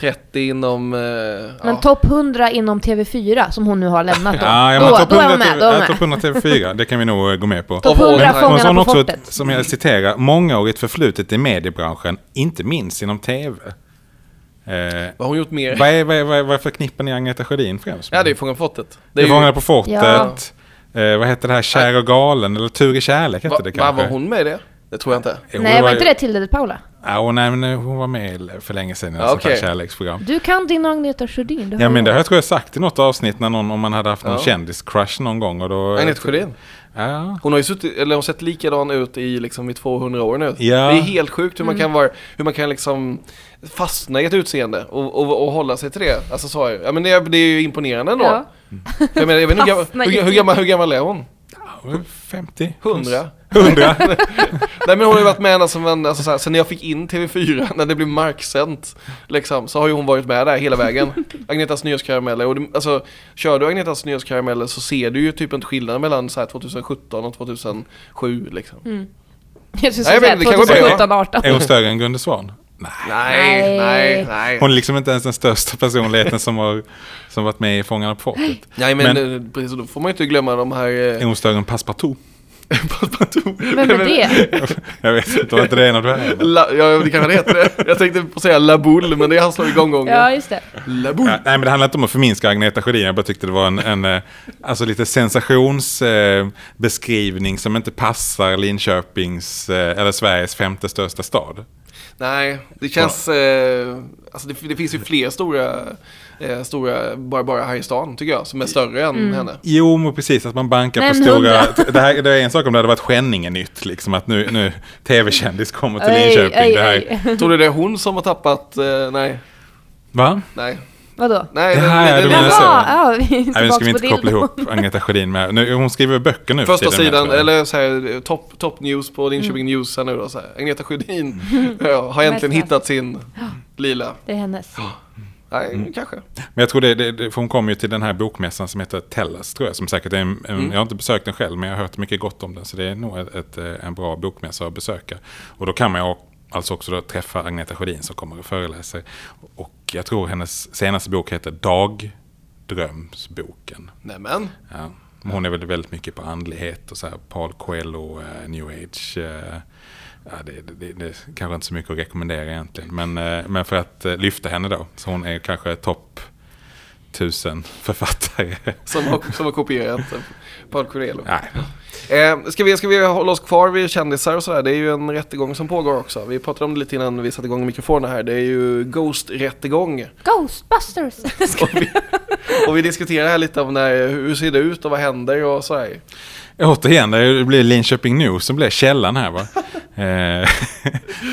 [SPEAKER 1] 30 inom... eh,
[SPEAKER 3] Mm. Men
[SPEAKER 1] ja.
[SPEAKER 3] topp 100 inom TV4 som hon nu har lämnat då.
[SPEAKER 2] Ja, ja, men
[SPEAKER 3] då,
[SPEAKER 2] topp
[SPEAKER 3] då är
[SPEAKER 2] 100,
[SPEAKER 3] jag med. Då är jag
[SPEAKER 2] ja, topp
[SPEAKER 3] med.
[SPEAKER 2] 100 TV4, det kan vi nog eh, gå med på.
[SPEAKER 3] Topp
[SPEAKER 1] Av all
[SPEAKER 3] 100
[SPEAKER 1] time.
[SPEAKER 2] Hon sa
[SPEAKER 3] Fångarna på
[SPEAKER 2] också, ett,
[SPEAKER 3] fortet.
[SPEAKER 2] som jag citerar, mångårigt förflutet i mediebranschen, inte minst inom tv. Eh,
[SPEAKER 1] Vad har hon gjort mer?
[SPEAKER 2] vad, är, vad, är, vad, är, vad förknippar ni Agneta Sjödin främst med?
[SPEAKER 1] Ja, det är ju Fångarna på fortet.
[SPEAKER 2] Det är Fångarna på fortet,
[SPEAKER 3] Ja.
[SPEAKER 2] eh, vad hette det här, Kär och galen, eller Tur i kärlek hette det
[SPEAKER 1] Va, va,
[SPEAKER 2] kanske?
[SPEAKER 1] var hon med i det? Det tror jag inte.
[SPEAKER 2] Jo,
[SPEAKER 3] Nej, var
[SPEAKER 2] ju-
[SPEAKER 3] inte det Tilde de Paula?
[SPEAKER 2] Ja, och nej, men eh, hon var med för länge sedan i ett
[SPEAKER 1] Ja,
[SPEAKER 2] sånt här
[SPEAKER 1] okej.
[SPEAKER 2] kärleksprogram.
[SPEAKER 3] Du kan din Agneta Sjödin. har
[SPEAKER 2] Ja, men det
[SPEAKER 3] jag.
[SPEAKER 2] har jag tror jag sagt i något avsnitt när någon, om man hade haft någon
[SPEAKER 1] Ja.
[SPEAKER 2] kändiscrush någon gång och då...
[SPEAKER 1] Agneta Sjödin.
[SPEAKER 2] Ja,
[SPEAKER 1] Hon har ju suttit, eller hon har sett likadan ut i liksom i 200 år nu.
[SPEAKER 2] Ja.
[SPEAKER 1] Det är helt sjukt hur
[SPEAKER 3] Mm.
[SPEAKER 1] man kan vara, hur man kan liksom fastna i ett utseende och, och, och hålla sig till det. Alltså så är det. Ja men det är, det är ju imponerande ändå.
[SPEAKER 3] Ja.
[SPEAKER 1] Jag menar, jag vet inte, hur,
[SPEAKER 3] Fastna
[SPEAKER 1] gammal-
[SPEAKER 3] i
[SPEAKER 1] hur, hur, gammal, hur gammal är hon?
[SPEAKER 2] 50?
[SPEAKER 1] 100?
[SPEAKER 2] 100?
[SPEAKER 1] Nej men hon har ju varit med ända som en, alltså så här, sen när jag fick in TV4, (laughs) när det blev marksänt liksom, så har ju hon varit med där hela
[SPEAKER 3] (laughs)
[SPEAKER 1] vägen. Agnetas nyhetskarameller, och det, alltså kör du Agnetas nyhetskarameller så ser du ju typ inte skillnaden mellan så här, 2017 och 2007 liksom.
[SPEAKER 3] Mm. Jag
[SPEAKER 1] Nej,
[SPEAKER 3] skulle säga
[SPEAKER 1] men det kanske blir det.
[SPEAKER 3] 2017, 18.
[SPEAKER 2] Är hon större än Gunde Svan? Nej.
[SPEAKER 1] Nej, nej,
[SPEAKER 3] Nej.
[SPEAKER 1] nej.
[SPEAKER 2] Hon är liksom inte ens den största personligheten som har som varit med i Fångarna på fortet.
[SPEAKER 1] Nej men,
[SPEAKER 2] Men-
[SPEAKER 1] eh, precis, då får man ju inte glömma de här...
[SPEAKER 2] Är
[SPEAKER 1] (laughs) eh,
[SPEAKER 2] hon större än Passepartout? (laughs)
[SPEAKER 3] Vem är det?
[SPEAKER 2] Jag vet inte, var inte det en av de här?
[SPEAKER 1] La, ja det kanske det heter det. Jag tänkte på att säga Laboule men det är han som har igång gången.
[SPEAKER 3] Ja, just det.
[SPEAKER 1] Laboule.
[SPEAKER 2] Nej men det handlar inte om att förminska Agneta Sjödin, jag bara tyckte det var en, en eh, alltså lite sensationsbeskrivning eh, beskrivning som inte passar Linköpings, eh, eller Sveriges femte största stad.
[SPEAKER 1] Nej, det känns... Eh, alltså det, det finns ju fler stora, eh, stora bara, bara här i stan tycker jag, som är större än henne.
[SPEAKER 2] Jo, men precis. Att man bankar
[SPEAKER 3] Men
[SPEAKER 2] på stora...
[SPEAKER 3] hundra.
[SPEAKER 2] (laughs) Det, här, det är en sak om det hade varit Skänninge-nytt. Liksom, att nu, nu tv-kändis kommer till
[SPEAKER 3] Oj,
[SPEAKER 2] Linköping.
[SPEAKER 3] oj,
[SPEAKER 2] det här,
[SPEAKER 3] oj.
[SPEAKER 1] Tror du det är hon som har tappat... Eh, nej,
[SPEAKER 2] Va?
[SPEAKER 1] nej,
[SPEAKER 3] (laughs) Vadå?
[SPEAKER 1] nej.
[SPEAKER 2] Det här är
[SPEAKER 3] Men
[SPEAKER 2] det menar
[SPEAKER 3] vad?
[SPEAKER 2] så.
[SPEAKER 3] Ja, vi är
[SPEAKER 2] alltså- Nej, nu ska vi
[SPEAKER 3] tillbaka på
[SPEAKER 2] inte koppla
[SPEAKER 3] dildo.
[SPEAKER 2] ihop Agneta Sjödin med... Nu, hon skriver böcker nu. för
[SPEAKER 1] Första
[SPEAKER 2] tiden,
[SPEAKER 1] sidan,
[SPEAKER 2] tror jag.
[SPEAKER 1] eller så här, eh, topp top news på Linköping News här nu då, så här. Agneta Sjödin (laughs) ja, har äntligen
[SPEAKER 3] Verkligen.
[SPEAKER 1] hittat sin lila.
[SPEAKER 3] Det är hennes.
[SPEAKER 1] Nej,
[SPEAKER 2] Mm.
[SPEAKER 1] kanske.
[SPEAKER 2] Men jag tror det, det, det... För hon kom ju till den här bokmässan som heter Tellus, tror jag. Som säkert är en, en,
[SPEAKER 1] Mm.
[SPEAKER 2] Jag har inte besökt den själv, men jag har hört mycket gott om den. Så det är nog ett, ett, eh, en bra bokmässa att besöka. Och då kan man ju alltså också då träffa Agneta Sjödin som kommer och föreläser. Och jag tror hennes senaste bok heter Dagdrömsboken.
[SPEAKER 1] Nämen.
[SPEAKER 2] Ja. Hon Men hon är väl väldigt mycket på andlighet och så här Paul Coelho, eh, new age. eh, ja, det, det, det, det är kanske inte så mycket att rekommendera egentligen. Men, eh, men för att eh, lyfta henne då. Så hon är kanske topp tusen författare.
[SPEAKER 1] Som har, som har kopierat eh, Paul Coelho.
[SPEAKER 2] Nej,
[SPEAKER 1] Eh, ska, vi, ska vi hålla oss kvar vid kändisar och sådär? Det är ju en rättegång som pågår också. Vi pratade om det lite innan vi satte igång mikrofonerna här. Det är ju Ghost-rättegång.
[SPEAKER 2] (gasps)
[SPEAKER 3] Ghostbusters!
[SPEAKER 1] Och vi, och vi diskuterar här lite om när, hur ser det ut och vad händer och sådär.
[SPEAKER 2] Återigen, det blir Linköping News som blir källan här va? Eh,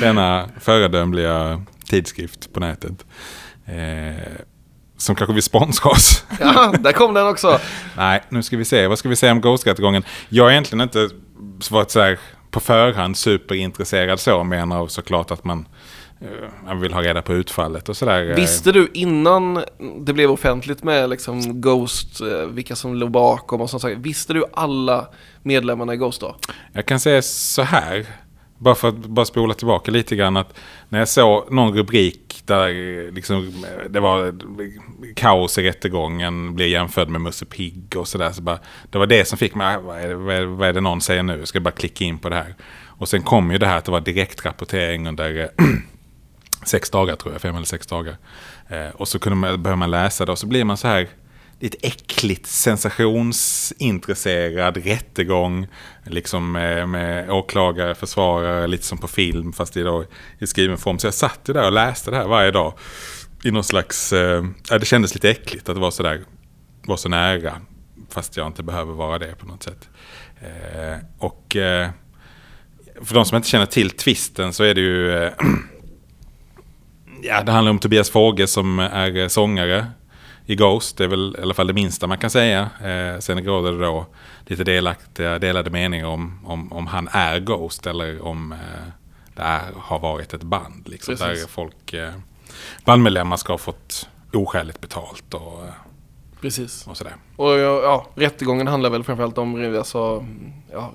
[SPEAKER 2] (laughs) Denna föredömliga tidskrift på nätet. Eh, Som kanske vill sponsra oss.
[SPEAKER 1] Ja, där kom den också.
[SPEAKER 2] Nej, nu ska vi se. Vad ska vi säga om Ghost-rättegången? Jag har egentligen inte varit så här på förhand superintresserad så, men av såklart att man, eh, man vill ha reda på utfallet och sådär. eh.
[SPEAKER 1] Visste du innan det blev offentligt med liksom Ghost, eh, vilka som låg bakom och sånt där, Visste du alla medlemmarna i Ghost då?
[SPEAKER 2] Jag kan säga så här, bara för att bara spola tillbaka lite grann. Att när jag såg någon rubrik där eh, liksom, eh, det var kaos i rättegången, blev jämförd med Musse Pigg och sådär. Så bara, det var det som fick mig, "Ah, vad är, det, vad, är, det- vad är det någon säger nu? Jag ska bara klicka in på det här. Och sen kom ju det här att det var direktrapportering under (clears throat) eh, sex dagar tror jag, fem eller sex dagar. Eh, och så kunde man, började man läsa det och så blir man så här lite äckligt sensationsintresserad rättegång. Liksom eh, med åklagare, försvarare, lite som på film fast i, då, i skriven form. Så jag satt ju där och läste det här varje dag. I någon slags, eh, ja, det kändes lite äckligt att vara så där, vara så nära. Fast jag inte behöver vara det på något sätt. Eh, och eh, för de som inte känner till twisten så är det ju eh, (clears throat) Ja, det handlar om Tobias Fåge som är eh, sångare i Ghost. Det är väl i alla fall det minsta man kan säga. Eh, sen råder det då lite delaktiga, delade meningar om, om, om han är Ghost eller om eh, det är, har varit ett band. Liksom,
[SPEAKER 1] Precis.
[SPEAKER 2] där folk, eh, bandmedlemmar ska ha fått oskäligt betalt och, eh,
[SPEAKER 1] Precis.
[SPEAKER 2] och sådär.
[SPEAKER 1] Och ja, ja, rättegången handlar väl framförallt om alltså, ja,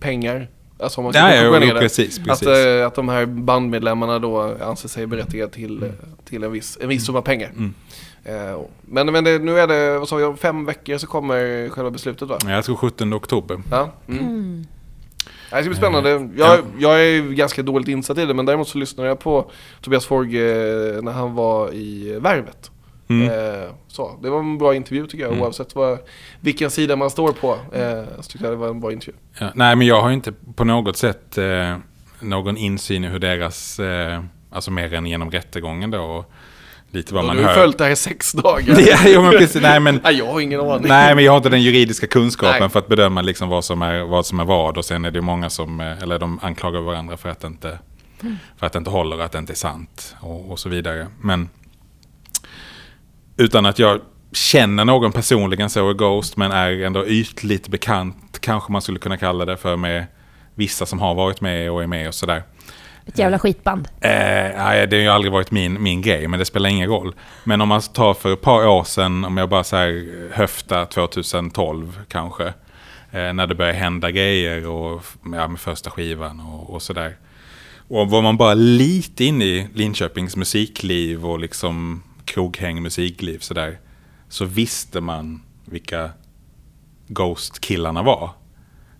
[SPEAKER 1] pengar. Alltså om man ska
[SPEAKER 2] Ja,
[SPEAKER 1] koka
[SPEAKER 2] ja,
[SPEAKER 1] ner
[SPEAKER 2] jo,
[SPEAKER 1] det.
[SPEAKER 2] precis,
[SPEAKER 1] Att,
[SPEAKER 2] precis.
[SPEAKER 1] eh, att de här bandmedlemmarna då anser sig berättigade till, eh, till en, viss, en viss summa pengar.
[SPEAKER 2] Mm.
[SPEAKER 1] Eh, och- men men det, nu är det, vad sa jag, om fem veckor så kommer själva beslutet va?
[SPEAKER 2] Ja, jag tror 17 oktober.
[SPEAKER 1] Ja. Mm. Nej, Det ska bli
[SPEAKER 2] Eh,
[SPEAKER 1] spännande. Jag, jag är ju ganska dåligt insatt i det men däremot så lyssnade jag på Tobias Forge eh, när han var i Värvet.
[SPEAKER 2] Mm.
[SPEAKER 1] Eh, så. Det var en bra intervju tycker jag
[SPEAKER 2] Mm.
[SPEAKER 1] oavsett vad, vilken sida man står på. Eh, så tyckte jag det var en bra intervju.
[SPEAKER 2] Ja, nej, men jag har ju inte på något sätt eh, någon insyn i hur deras, eh, alltså mer än genom rättegången då, och lite vad
[SPEAKER 1] Och
[SPEAKER 2] man
[SPEAKER 1] du har
[SPEAKER 2] hör.
[SPEAKER 1] ju
[SPEAKER 2] (laughs)
[SPEAKER 1] följt det här i sex dagar.
[SPEAKER 2] ja, jo, men precis. Nej,
[SPEAKER 1] (laughs)
[SPEAKER 2] men,
[SPEAKER 1] Nej, jag har ingen aning.
[SPEAKER 2] nej, men jag har inte den juridiska kunskapen
[SPEAKER 1] Nej.
[SPEAKER 2] för att bedöma liksom vad, som är, vad som är vad. Och sen är det ju många som, eh, eller de anklagar varandra för att det inte, för att det inte håller, att det inte är sant och, och så vidare. Men utan att jag känner någon personligen så är Ghost, men är ändå ytligt bekant, kanske man skulle kunna kalla det för med vissa som har varit med och är med och sådär.
[SPEAKER 3] Ett jävla skitband.
[SPEAKER 2] Eh, nej, det har ju aldrig varit min, min grej, men det spelar ingen roll. Men om man tar för ett par år sedan, om jag bara så här höfta 2012 kanske, eh, när det började hända grejer och ja, med första skivan och, och sådär. Och var man bara lite inne i Linköpings musikliv och liksom kroghäng musikliv sådär, så visste man vilka Ghost-killarna var.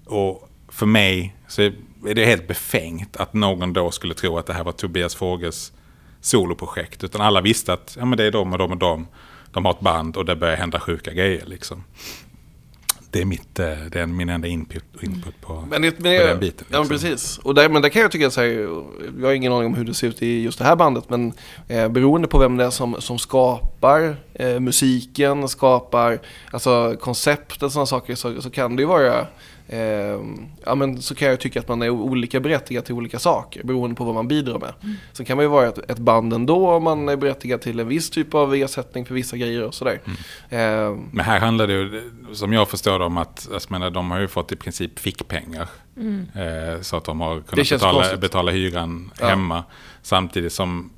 [SPEAKER 2] Och för mig så är det helt befängt att någon då skulle tro att det här var Tobias Fåges soloprojekt. Utan alla visste att ja, men det är de och de och de. De har ett band och det börjar hända sjuka grejer. Liksom. Det är, mitt, eh, det är min enda input, input på,
[SPEAKER 1] Men det, men,
[SPEAKER 2] på den biten.
[SPEAKER 1] Ja, men
[SPEAKER 2] liksom.
[SPEAKER 1] precis. Och där, men där kan jag tycka så här, jag har ingen aning om hur det ser ut i just det här bandet, men eh, beroende på vem det är som, som skapar eh, musiken, skapar alltså, koncept och sådana saker, så, så kan det ju vara Eh, ja, men så kan jag tycka att man är o- olika berättigad till olika saker beroende på vad man bidrar med. Sen kan man ju vara ett, ett band ändå om man är berättigad till en viss typ av ersättning för vissa grejer och sådär.
[SPEAKER 2] Mm.
[SPEAKER 1] Eh,
[SPEAKER 2] Men här handlar det ju, som jag förstår det, om att alltså, menar, de har ju fått i princip fickpengar. Eh, så att de har kunnat
[SPEAKER 1] känns
[SPEAKER 2] betala,
[SPEAKER 1] konstigt.
[SPEAKER 2] betala hyran
[SPEAKER 1] Ja.
[SPEAKER 2] hemma. Samtidigt som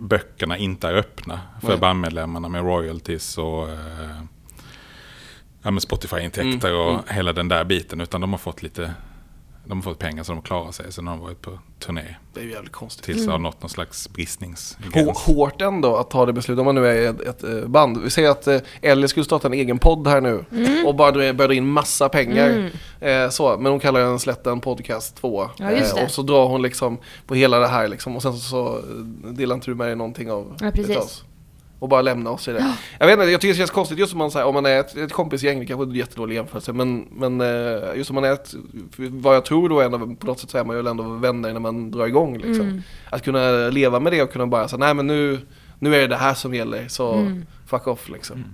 [SPEAKER 2] böckerna inte är öppna för
[SPEAKER 1] Nej.
[SPEAKER 2] bandmedlemmarna med royalties och eh,
[SPEAKER 1] Mm.
[SPEAKER 2] ja, men Spotify-intäkter och hela den där biten. Utan de har fått lite de har fått pengar så de klarar sig. Sen har de varit på turné
[SPEAKER 1] Det är ju jävligt konstigt.
[SPEAKER 2] tills de har nått någon slags bristningsgräns.
[SPEAKER 1] Hå- Mm. Hårt ändå att ta det beslutet om man nu är ett, ett eh, band. Vi säger att eh, Ellie skulle starta en egen podd här nu
[SPEAKER 3] Mm.
[SPEAKER 1] och bara dra- börja dra in massa pengar. Eh, så, men hon kallar den slätten podcast 2.
[SPEAKER 3] Ja, just det.
[SPEAKER 1] och så drar hon liksom på hela det här liksom och sen så, så eh, delar inte du med dig någonting av
[SPEAKER 3] Ja, precis.
[SPEAKER 1] utav oss. Och bara lämna oss i det. Jag vet inte, jag tycker det känns konstigt just om man, så här, om man är ett, ett kompisgäng, det kanske är en jättedålig jämförelse, men, men eh, just om man är ett, vad jag tror då är ändå, på något sätt så är man ju ändå vänner när man drar igång liksom.
[SPEAKER 3] Mm.
[SPEAKER 1] Att kunna leva med det och kunna bara säga nej men nu, nu är det det här som gäller, så
[SPEAKER 3] Mm.
[SPEAKER 1] fuck off liksom.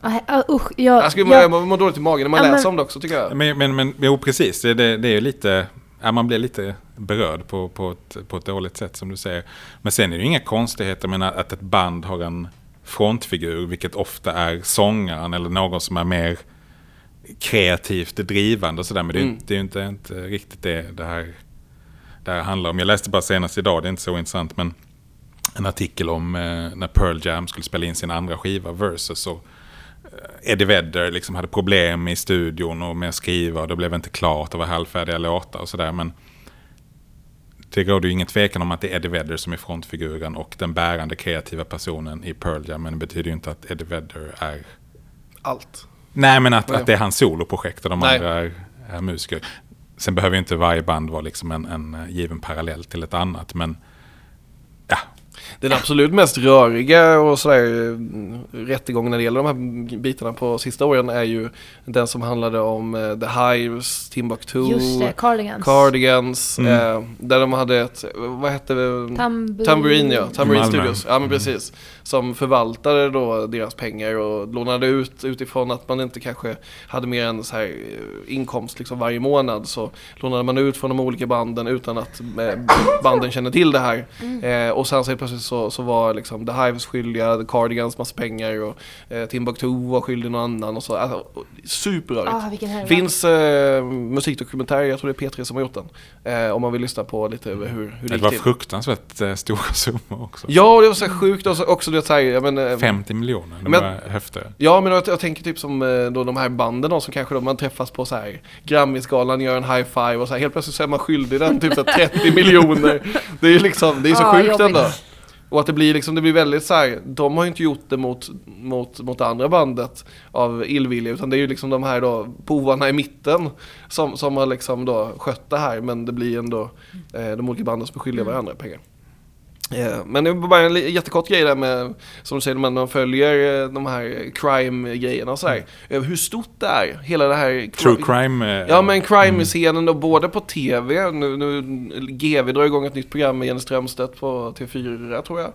[SPEAKER 3] Ah, ah, usch, jag,
[SPEAKER 1] Jag skulle
[SPEAKER 3] jag,
[SPEAKER 1] må, må dåligt i magen när man
[SPEAKER 3] Ja, men-
[SPEAKER 1] läser om det också tycker jag.
[SPEAKER 2] Men, men, men jo, precis. Det, det, det är ju lite... Ja, man blir lite berörd på, på, ett, på ett dåligt sätt som du säger. Men sen är det ju inga konstigheter med att ett band har en frontfigur, vilket ofta är sångaren eller någon som är mer kreativt drivande och sådär. Men det, är ju-
[SPEAKER 1] Mm.
[SPEAKER 2] det är ju inte, inte riktigt det det här, det här handlar om. Jag läste bara senast idag, det är inte så intressant, men en artikel om eh, när Pearl Jam skulle spela in sin andra skiva, Versus. Och Eddie Vedder liksom hade problem i studion och med att skriva och det blev inte klart och var halvfärdiga låtar och sådär. Men det råder ju ingen tvekan om att det är Eddie Vedder som är frontfiguren och den bärande kreativa personen i Pearl Jam. Men det betyder ju inte att Eddie Vedder är...
[SPEAKER 1] Allt.
[SPEAKER 2] Nej, men att,
[SPEAKER 1] Nej.
[SPEAKER 2] att det är hans soloprojekt och de
[SPEAKER 1] Nej.
[SPEAKER 2] andra är, är musiker. Sen behöver ju inte varje band vara liksom en, en eh, given parallell till ett annat, men... Ja,
[SPEAKER 1] Den absolut mest röriga och sådär mm, rättegång när det gäller de här bitarna på sista åren är ju den som handlade om eh, The Hives, Timbuktu,
[SPEAKER 3] just det, Cardigans.
[SPEAKER 1] Cardigans,
[SPEAKER 2] Mm.
[SPEAKER 1] eh, där de hade ett, vad hette det?
[SPEAKER 3] Tamburin.
[SPEAKER 1] Tambourine ja, Tambourine
[SPEAKER 2] Malmö.
[SPEAKER 1] Studios. Ja men
[SPEAKER 2] Mm.
[SPEAKER 1] precis. Som förvaltade då deras pengar och lånade ut utifrån att man inte kanske hade mer än så här eh, inkomst liksom varje månad så lånade man ut från de olika banden utan att eh, banden kände till det här. Eh, och sen så helt plötsligt så, så var liksom The Hives skyldiga, The Cardigans massa pengar och eh, Timbuktu var skyldig någon annan och så. Alltså, och- superrörigt.
[SPEAKER 3] Ah, vilken härva.
[SPEAKER 1] Finns eh, musikdokumentär, jag tror det är P3 som har gjort den. Eh, om man vill lyssna på lite över hur, hur det
[SPEAKER 2] det
[SPEAKER 1] gick
[SPEAKER 2] var
[SPEAKER 1] till.
[SPEAKER 2] fruktansvärt eh, stora (laughs) summor också.
[SPEAKER 1] Ja, och det var så här sjukt och så också det så här, jag men, eh,
[SPEAKER 2] 50 miljoner, det
[SPEAKER 1] Men-
[SPEAKER 2] var höfter.
[SPEAKER 1] Ja, men jag, jag tänker typ som eh, då de här banden då, som kanske då man träffas på så här Grammisgalan, gör en high five och så här helt plötsligt så är man skyldig den typ så här 30 miljoner. Det är ju liksom, det är så
[SPEAKER 3] Ja,
[SPEAKER 1] sjukt
[SPEAKER 3] jobbigt.
[SPEAKER 1] ändå. Och att det blir liksom, det blir väldigt så här, de har ju inte gjort det mot, mot, mot det andra bandet av illvilja, utan det är ju liksom de här då bovarna i mitten som, som har liksom då skött det här, men det blir ändå eh, de olika banden som är
[SPEAKER 2] Mm.
[SPEAKER 1] skyldiga varandra pengar. Eh, Men det var bara en li- jättekort grej där med, som du säger, när man följer eh, de här crime-grejerna och sådär. Över hur stort det är, hela det här...
[SPEAKER 2] Mm. True crime. Mm. eh,
[SPEAKER 1] Ja men crime-scenen då, både på TV, nu, nu GV drar igång ett nytt program med Jenny Strömstedt på TV4 tror jag.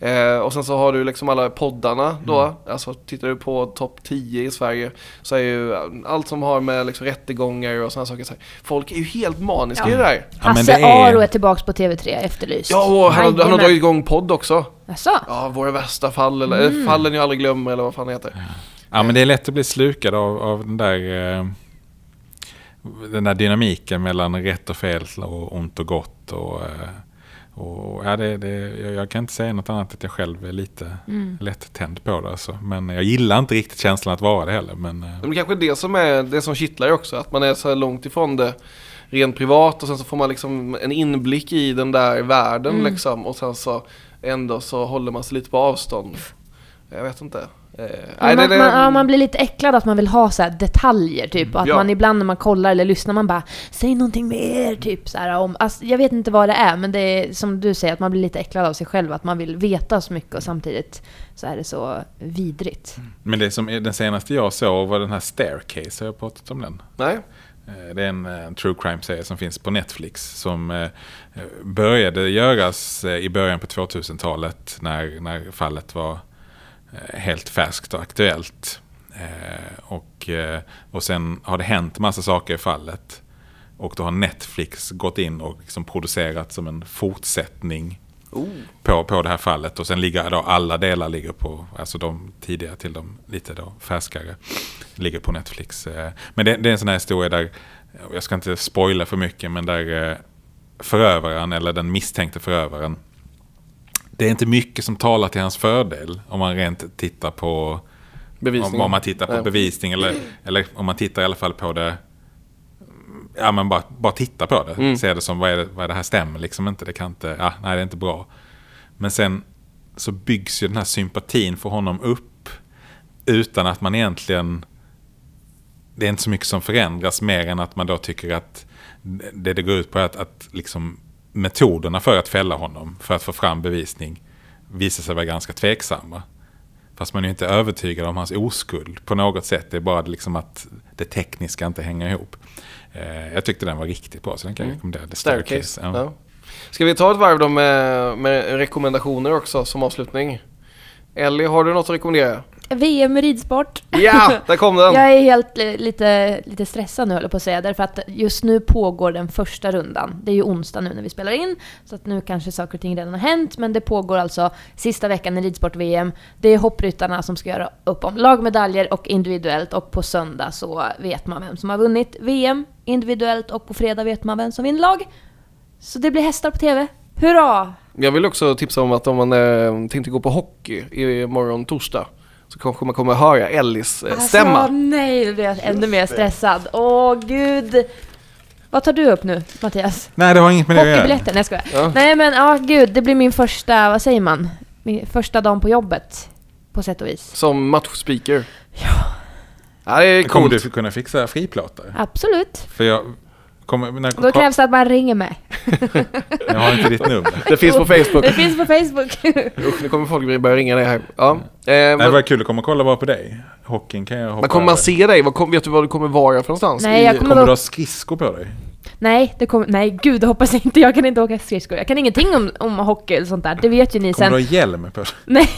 [SPEAKER 1] Eh, och sen så har du liksom alla poddarna då,
[SPEAKER 2] Mm.
[SPEAKER 1] alltså tittar du på topp 10 i Sverige så är ju eh, allt som har med liksom rättegångar och sådana saker, så här. folk är ju helt maniska i det där.
[SPEAKER 2] Ja, men
[SPEAKER 3] Hasse
[SPEAKER 2] det är-
[SPEAKER 3] Aro är tillbaka på TV3, efterlyst.
[SPEAKER 1] Ja, och han, har- han har
[SPEAKER 3] Jajamän.
[SPEAKER 1] dragit igång podd också.
[SPEAKER 3] Jaså?
[SPEAKER 1] Ja, våra värsta fall, eller eh, fallen jag aldrig glömmer, eller vad fan det heter.
[SPEAKER 2] Ja, men det är lätt att bli slukad av, av den där eh, den där dynamiken mellan rätt och fel och ont och gott. Och, eh, och, ja, det, det, jag, jag kan inte säga något annat att jag själv är lite
[SPEAKER 3] Mm.
[SPEAKER 2] lätt tänd på det. Alltså. Men jag gillar inte riktigt känslan att vara det heller. Men, eh,
[SPEAKER 1] Men det kanske är det som, är, det som kittlar också, att man är så här långt ifrån det rent privat och sen så får man liksom en inblick i den där världen liksom och sen så ändå så håller man sig lite på avstånd. Jag vet inte. Eh, nej,
[SPEAKER 3] Ja, man,
[SPEAKER 1] det- det-
[SPEAKER 3] man, ja, man blir lite äcklad att man vill ha så här detaljer typ. Och att
[SPEAKER 1] Ja.
[SPEAKER 3] man ibland när man kollar eller lyssnar man bara Säg någonting mer typ så här, om, alltså, Jag vet inte vad det är men det är som du säger att man blir lite äcklad av sig själv. Att man vill veta så mycket och samtidigt så är det så vidrigt.
[SPEAKER 2] men det som är, den senaste jag såg var den här Staircase, har jag pratat om den?
[SPEAKER 1] nej.
[SPEAKER 2] Eh, Det är en eh, true crime-serie som finns på Netflix som eh, eh, började göras eh, i början på 2000-talet när, när fallet var eh, helt färskt och aktuellt. Eh, Och, eh, och sen har det hänt massa saker i fallet. Och då har Netflix gått in och liksom producerat som en fortsättning
[SPEAKER 1] Oh.
[SPEAKER 2] på, på det här fallet. Och sen ligger då alla delar ligger på, alltså de tidiga till de lite då färskare, ligger på Netflix. eh. Men det, det är en sån här historia där, och jag ska inte spoila för mycket, men där eh, förövaren eller den misstänkte förövaren, det är inte mycket som talar till hans fördel om man rent tittar på
[SPEAKER 1] Bevisning.
[SPEAKER 2] om, om man tittar på
[SPEAKER 1] Nej.
[SPEAKER 2] bevisning eller, eller om man tittar i alla fall på det ja, men bara, bara titta på det.
[SPEAKER 1] Mm.
[SPEAKER 2] Se det som, vad är det, vad är det här stämmer liksom inte. Det kan inte, ja, nej det är inte bra. Men sen så byggs ju den här sympatin för honom upp utan att man egentligen... Det är inte så mycket som förändras mer än att man då tycker att det det går ut på är att, att liksom metoderna för att fälla honom, för att få fram bevisning, visar sig vara ganska tveksamma. Fast man är ju inte övertygad om hans oskuld på något sätt. Det är bara liksom att det tekniska inte hänger ihop. Eh, Jag tyckte den var riktigt bra, så den kan jag
[SPEAKER 1] Mm.
[SPEAKER 2] rekommendera. The
[SPEAKER 1] Staircase.
[SPEAKER 2] Ja.
[SPEAKER 1] Ja. Ska vi ta ett varv då med, med rekommendationer också som avslutning? Ellie, har du något att rekommendera?
[SPEAKER 3] VM i ridsport. (laughs)
[SPEAKER 1] Ja, där kom den!
[SPEAKER 3] Jag är helt eh, lite, lite stressad nu håller jag på att säga, därför att just nu pågår den första rundan. Det är ju onsdag nu när vi spelar in, så att nu kanske saker och ting redan har hänt, men det pågår alltså sista veckan i ridsport-VM. Det är hoppryttarna som ska göra upp om lagmedaljer och individuellt och på söndag så vet man vem som har vunnit VM individuellt och på fredag vet man vem som vinner lag. Så det blir hästar på TV. Hurra!
[SPEAKER 1] Jag vill också tipsa om att om man eh, tänkte gå på hockey i- imorgon torsdag så kanske man kommer höra Ellis eh,
[SPEAKER 3] Alltså,
[SPEAKER 1] stämma.
[SPEAKER 3] nej, nu blir jag ännu mer stressad. Åh gud! Vad tar du upp nu, Mattias?
[SPEAKER 2] Nej, det har inget med det att göra.
[SPEAKER 3] Hockeybiljetten, nej jag skojar.
[SPEAKER 1] Ja.
[SPEAKER 3] Nej men ja, gud, det blir min första, vad säger man? Min första dagen på jobbet. På sätt och vis.
[SPEAKER 1] Som matchspeaker. Ja. det är
[SPEAKER 2] Kommer
[SPEAKER 1] coolt.
[SPEAKER 2] du kunna fixa friplåtar?
[SPEAKER 3] Absolut.
[SPEAKER 2] För jag, kommer, när,
[SPEAKER 3] Då krävs det att man ringer mig.
[SPEAKER 2] jag har inte ditt nummer.
[SPEAKER 1] Det finns på Facebook.
[SPEAKER 3] Det finns på Facebook. (laughs)
[SPEAKER 1] Usch, nu kommer folk börja ringa dig här. Ja. Eh,
[SPEAKER 2] Nej, det
[SPEAKER 1] men,
[SPEAKER 2] var kul att komma och kolla bara på dig. Hockeyn kan jag hoppa
[SPEAKER 1] men kommer
[SPEAKER 2] över.
[SPEAKER 1] man se dig? Vad kom, vet du var du kommer vara för någonstans?
[SPEAKER 3] Nej,
[SPEAKER 1] I-
[SPEAKER 3] jag kommer-
[SPEAKER 2] Kommer du ha skridskor på dig?
[SPEAKER 3] nej, det kommer, nej gud, det hoppas jag inte. Jag kan inte åka skridskor. Jag kan ingenting om, om hockey eller sånt där. Det vet ju ni
[SPEAKER 2] Kommer
[SPEAKER 3] sen.
[SPEAKER 2] du ha hjälm på dig?
[SPEAKER 3] Nej!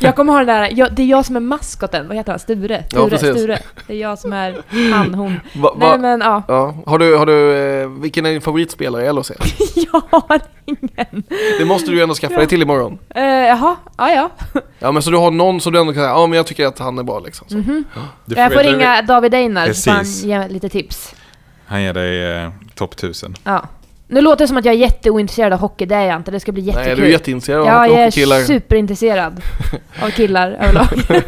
[SPEAKER 3] Jag kommer ha den där, jag, det är jag som är maskoten. Vad heter han? Sture?
[SPEAKER 1] Ja,
[SPEAKER 3] Sture?
[SPEAKER 1] precis.
[SPEAKER 3] Sture. Det är jag som är han, hon.
[SPEAKER 1] Va, va,
[SPEAKER 3] Nej men ja.
[SPEAKER 1] ja. Har du, har du, eh, vilken är din favoritspelare i LHC?
[SPEAKER 3] (laughs) Jag har ingen.
[SPEAKER 1] Det måste du ju ändå skaffa dig till imorgon.
[SPEAKER 3] Eh, jaha, ja ja.
[SPEAKER 1] Ja men så du har någon som du ändå kan säga, ja men jag tycker att han är bra liksom.
[SPEAKER 3] Mhm.
[SPEAKER 1] Så.
[SPEAKER 2] Du
[SPEAKER 3] Jag får
[SPEAKER 2] vet- du vet-
[SPEAKER 3] ringa David Einar så får han
[SPEAKER 2] Precis.
[SPEAKER 3] ge lite tips.
[SPEAKER 2] Han ger dig eh, topp 1000.
[SPEAKER 3] Ja. Nu låter det som att jag är jätteointresserad av hockey, det är jag inte. Det ska bli jättekul.
[SPEAKER 1] Nej, du är jätteintresserad av
[SPEAKER 3] ja, jag
[SPEAKER 1] hockeykillar.
[SPEAKER 3] är superintresserad
[SPEAKER 1] (laughs)
[SPEAKER 3] av killar överlag.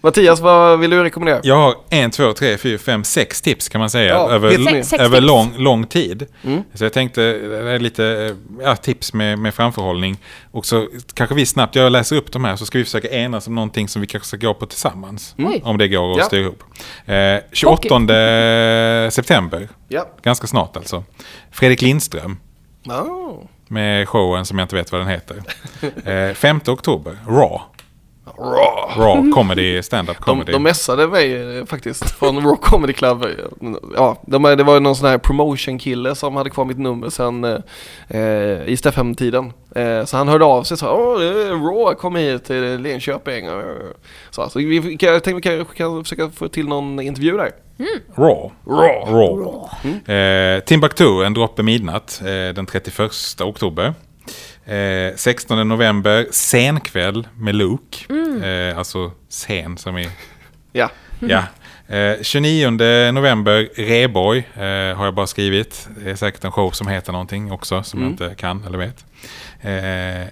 [SPEAKER 1] Mattias, vad vill du rekommendera?
[SPEAKER 2] Jag har en, två, tre, fyra, fem, sex tips kan man säga.
[SPEAKER 1] Ja,
[SPEAKER 2] över
[SPEAKER 1] hit me.
[SPEAKER 3] Sex
[SPEAKER 2] över
[SPEAKER 3] tips.
[SPEAKER 2] lång, lång tid.
[SPEAKER 1] Mm.
[SPEAKER 2] Så jag tänkte, det är lite eh, ja, tips med, med framförhållning. Och så kanske vi snabbt, jag läser upp de här, så ska vi försöka enas om någonting som vi kanske ska gå på tillsammans.
[SPEAKER 3] Mm. Oj.
[SPEAKER 2] Om det går att
[SPEAKER 1] Ja.
[SPEAKER 2] styra ihop. Eh, 28 september,
[SPEAKER 1] Ja.
[SPEAKER 2] ganska snart alltså. Fredrik Lindström
[SPEAKER 1] Oh.
[SPEAKER 2] med showen som jag inte vet vad den
[SPEAKER 1] (laughs)
[SPEAKER 2] heter. Eh, 5 oktober, Raw.
[SPEAKER 1] Raw.
[SPEAKER 2] Raw comedy, stand-up
[SPEAKER 1] Mm. De,
[SPEAKER 2] comedy.
[SPEAKER 1] de messade mig eh, faktiskt från Rock Comedy Club. Ja, de, det var ju någon sån här promotion-kille som hade kvar mitt nummer sen eh, eh, i Steffhem-tiden. Eh, så han hörde av sig och sa Åh, det är Raw kom hit till Linköping. Och Så, så vi, kan- jag tänkte vi kanske kan försöka få till någon intervju där.
[SPEAKER 2] Raw.
[SPEAKER 1] Raw. Mm.
[SPEAKER 2] Raw. Eh, Timbuktu, en droppe midnatt, eh, den 31 oktober. Eh, 16 november, sen kväll med Luke.
[SPEAKER 1] Mm.
[SPEAKER 2] Eh, alltså sen som är...
[SPEAKER 1] Ja.
[SPEAKER 2] Ja. Eh, 29 november, Reborg, eh, har jag bara skrivit. Det är säkert en show som heter någonting också, som
[SPEAKER 1] Mm.
[SPEAKER 2] jag inte kan eller vet. Eh,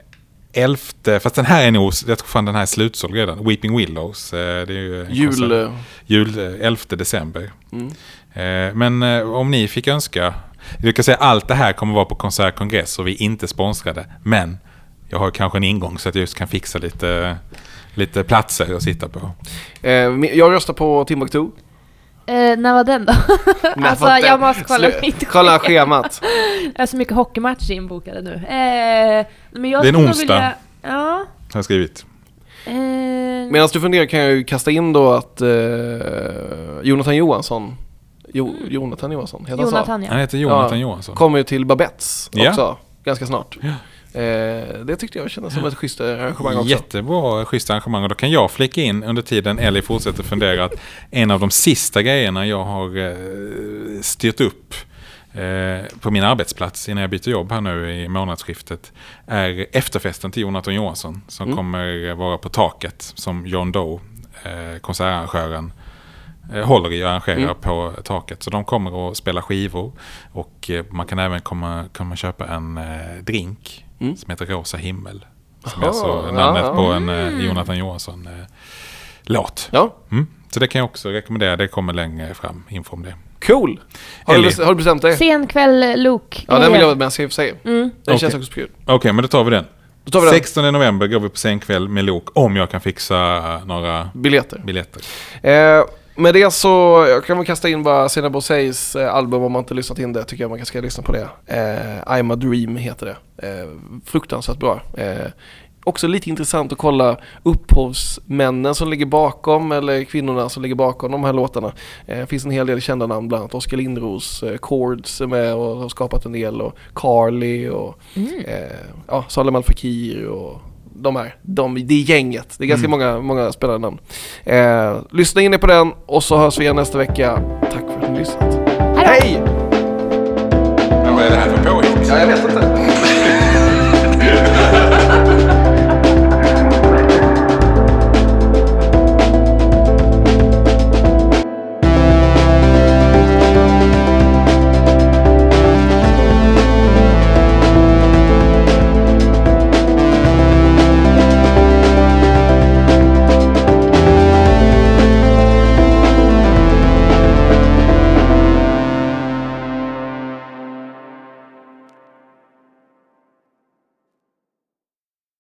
[SPEAKER 2] Elfte, fast den här är nog, jag tror fan den här är slutsåld redan. Weeping Willows. Eh, det är ju en
[SPEAKER 1] Jul...
[SPEAKER 2] konsert.
[SPEAKER 1] eh,
[SPEAKER 2] Jul eh, 11 december.
[SPEAKER 1] Mm.
[SPEAKER 2] Eh, Men eh, om ni fick önska, jag kan säga allt det här kommer vara på konsert, kongress och vi är inte sponsrade. Men jag har kanske en ingång så att jag just kan fixa lite, lite platser att sitta på.
[SPEAKER 1] Eh, min- jag röstar på Timbuktu.
[SPEAKER 3] Eh, när
[SPEAKER 1] (laughs)
[SPEAKER 3] var den då? alltså
[SPEAKER 1] Men
[SPEAKER 3] jag
[SPEAKER 1] vänta,
[SPEAKER 3] måste kolla
[SPEAKER 1] slu-
[SPEAKER 3] mitt
[SPEAKER 1] Kolla schemat.
[SPEAKER 3] Jag har så mycket hockeymatcher inbokade nu. Eh,
[SPEAKER 2] Det
[SPEAKER 3] men jag
[SPEAKER 2] är en
[SPEAKER 3] skulle nog
[SPEAKER 2] onsdag.
[SPEAKER 3] Vilja, ja.
[SPEAKER 2] Har jag skrivit.
[SPEAKER 3] Eh,
[SPEAKER 1] Medan du funderar kan jag ju kasta in då att eh, Jonathan Johansson, jo, Jonathan Johansson heter han så?
[SPEAKER 3] Mm. Jonathan
[SPEAKER 2] Han
[SPEAKER 3] ja.
[SPEAKER 2] heter Jonathan
[SPEAKER 1] Ja.
[SPEAKER 2] Johansson.
[SPEAKER 1] Kommer ju till Babettes
[SPEAKER 2] Ja.
[SPEAKER 1] också, ganska snart. Eh, det tyckte jag kändes som ett schysst arrangemang också.
[SPEAKER 2] Jättebra, schysst arrangemang. Och då kan jag flika in under tiden Ellie fortsätter fundera att en av de sista grejerna jag har eh, styrt upp eh, på min arbetsplats innan jag byter jobb här nu i månadsskiftet är efterfesten till Jonathan Johansson som kommer vara på taket som John Doe, eh, konsertarrangören, eh, håller i och arrangerar
[SPEAKER 1] Mm.
[SPEAKER 2] på taket. Så de kommer att spela skivor och eh, man kan även komma, komma köpa en eh, drink
[SPEAKER 1] Mm.
[SPEAKER 2] som heter Rosa himmel. Som
[SPEAKER 1] Aha, Mm.
[SPEAKER 2] jag så
[SPEAKER 1] ja,
[SPEAKER 2] namnet
[SPEAKER 1] ja.
[SPEAKER 2] på en eh, Jonathan Johansson eh, låt.
[SPEAKER 1] Ja,
[SPEAKER 2] Mm. Så det kan jag också rekommendera. Det kommer längre fram info om det.
[SPEAKER 1] Cool! Har du,
[SPEAKER 2] Ellie.
[SPEAKER 1] bes- har du bestämt dig?
[SPEAKER 3] Sen kväll, Luke.
[SPEAKER 1] Ja, den vill jag vara med i och för sig.
[SPEAKER 3] Mm.
[SPEAKER 1] Den
[SPEAKER 2] Okej.
[SPEAKER 1] känns också kul.
[SPEAKER 2] Okej, men då tar vi den.
[SPEAKER 1] Då tar vi den.
[SPEAKER 2] 16 november går vi på scenkväll med Lok om jag kan fixa några
[SPEAKER 1] Biljetter.
[SPEAKER 2] biljetter.
[SPEAKER 1] Eh, med det så jag kan väl kasta in bara Sinabo Says eh, album om man inte lyssnat in det. Tycker jag man ska lyssna på det. Eh, I'm a Dream heter det. Eh, fruktansvärt bra. Eh, också lite intressant att kolla upphovsmännen som ligger bakom eller kvinnorna som ligger bakom de här låtarna. Eh, Det finns en hel del kända namn, bland annat Oskar Lindros, eh, Chords är med och har skapat en del och Carly och
[SPEAKER 3] Mm.
[SPEAKER 1] eh, ja, Salem Al Fakir och de här, de, det är gänget. Det är
[SPEAKER 3] Mm.
[SPEAKER 1] ganska många, många spännande namn. Eh, lyssna in er på den och så hörs vi igen nästa vecka. Tack för att ni har lyssnat.
[SPEAKER 3] Hej då.
[SPEAKER 1] Hej!
[SPEAKER 2] Men vad är det här för påhitt?
[SPEAKER 1] Ja, jag vet inte.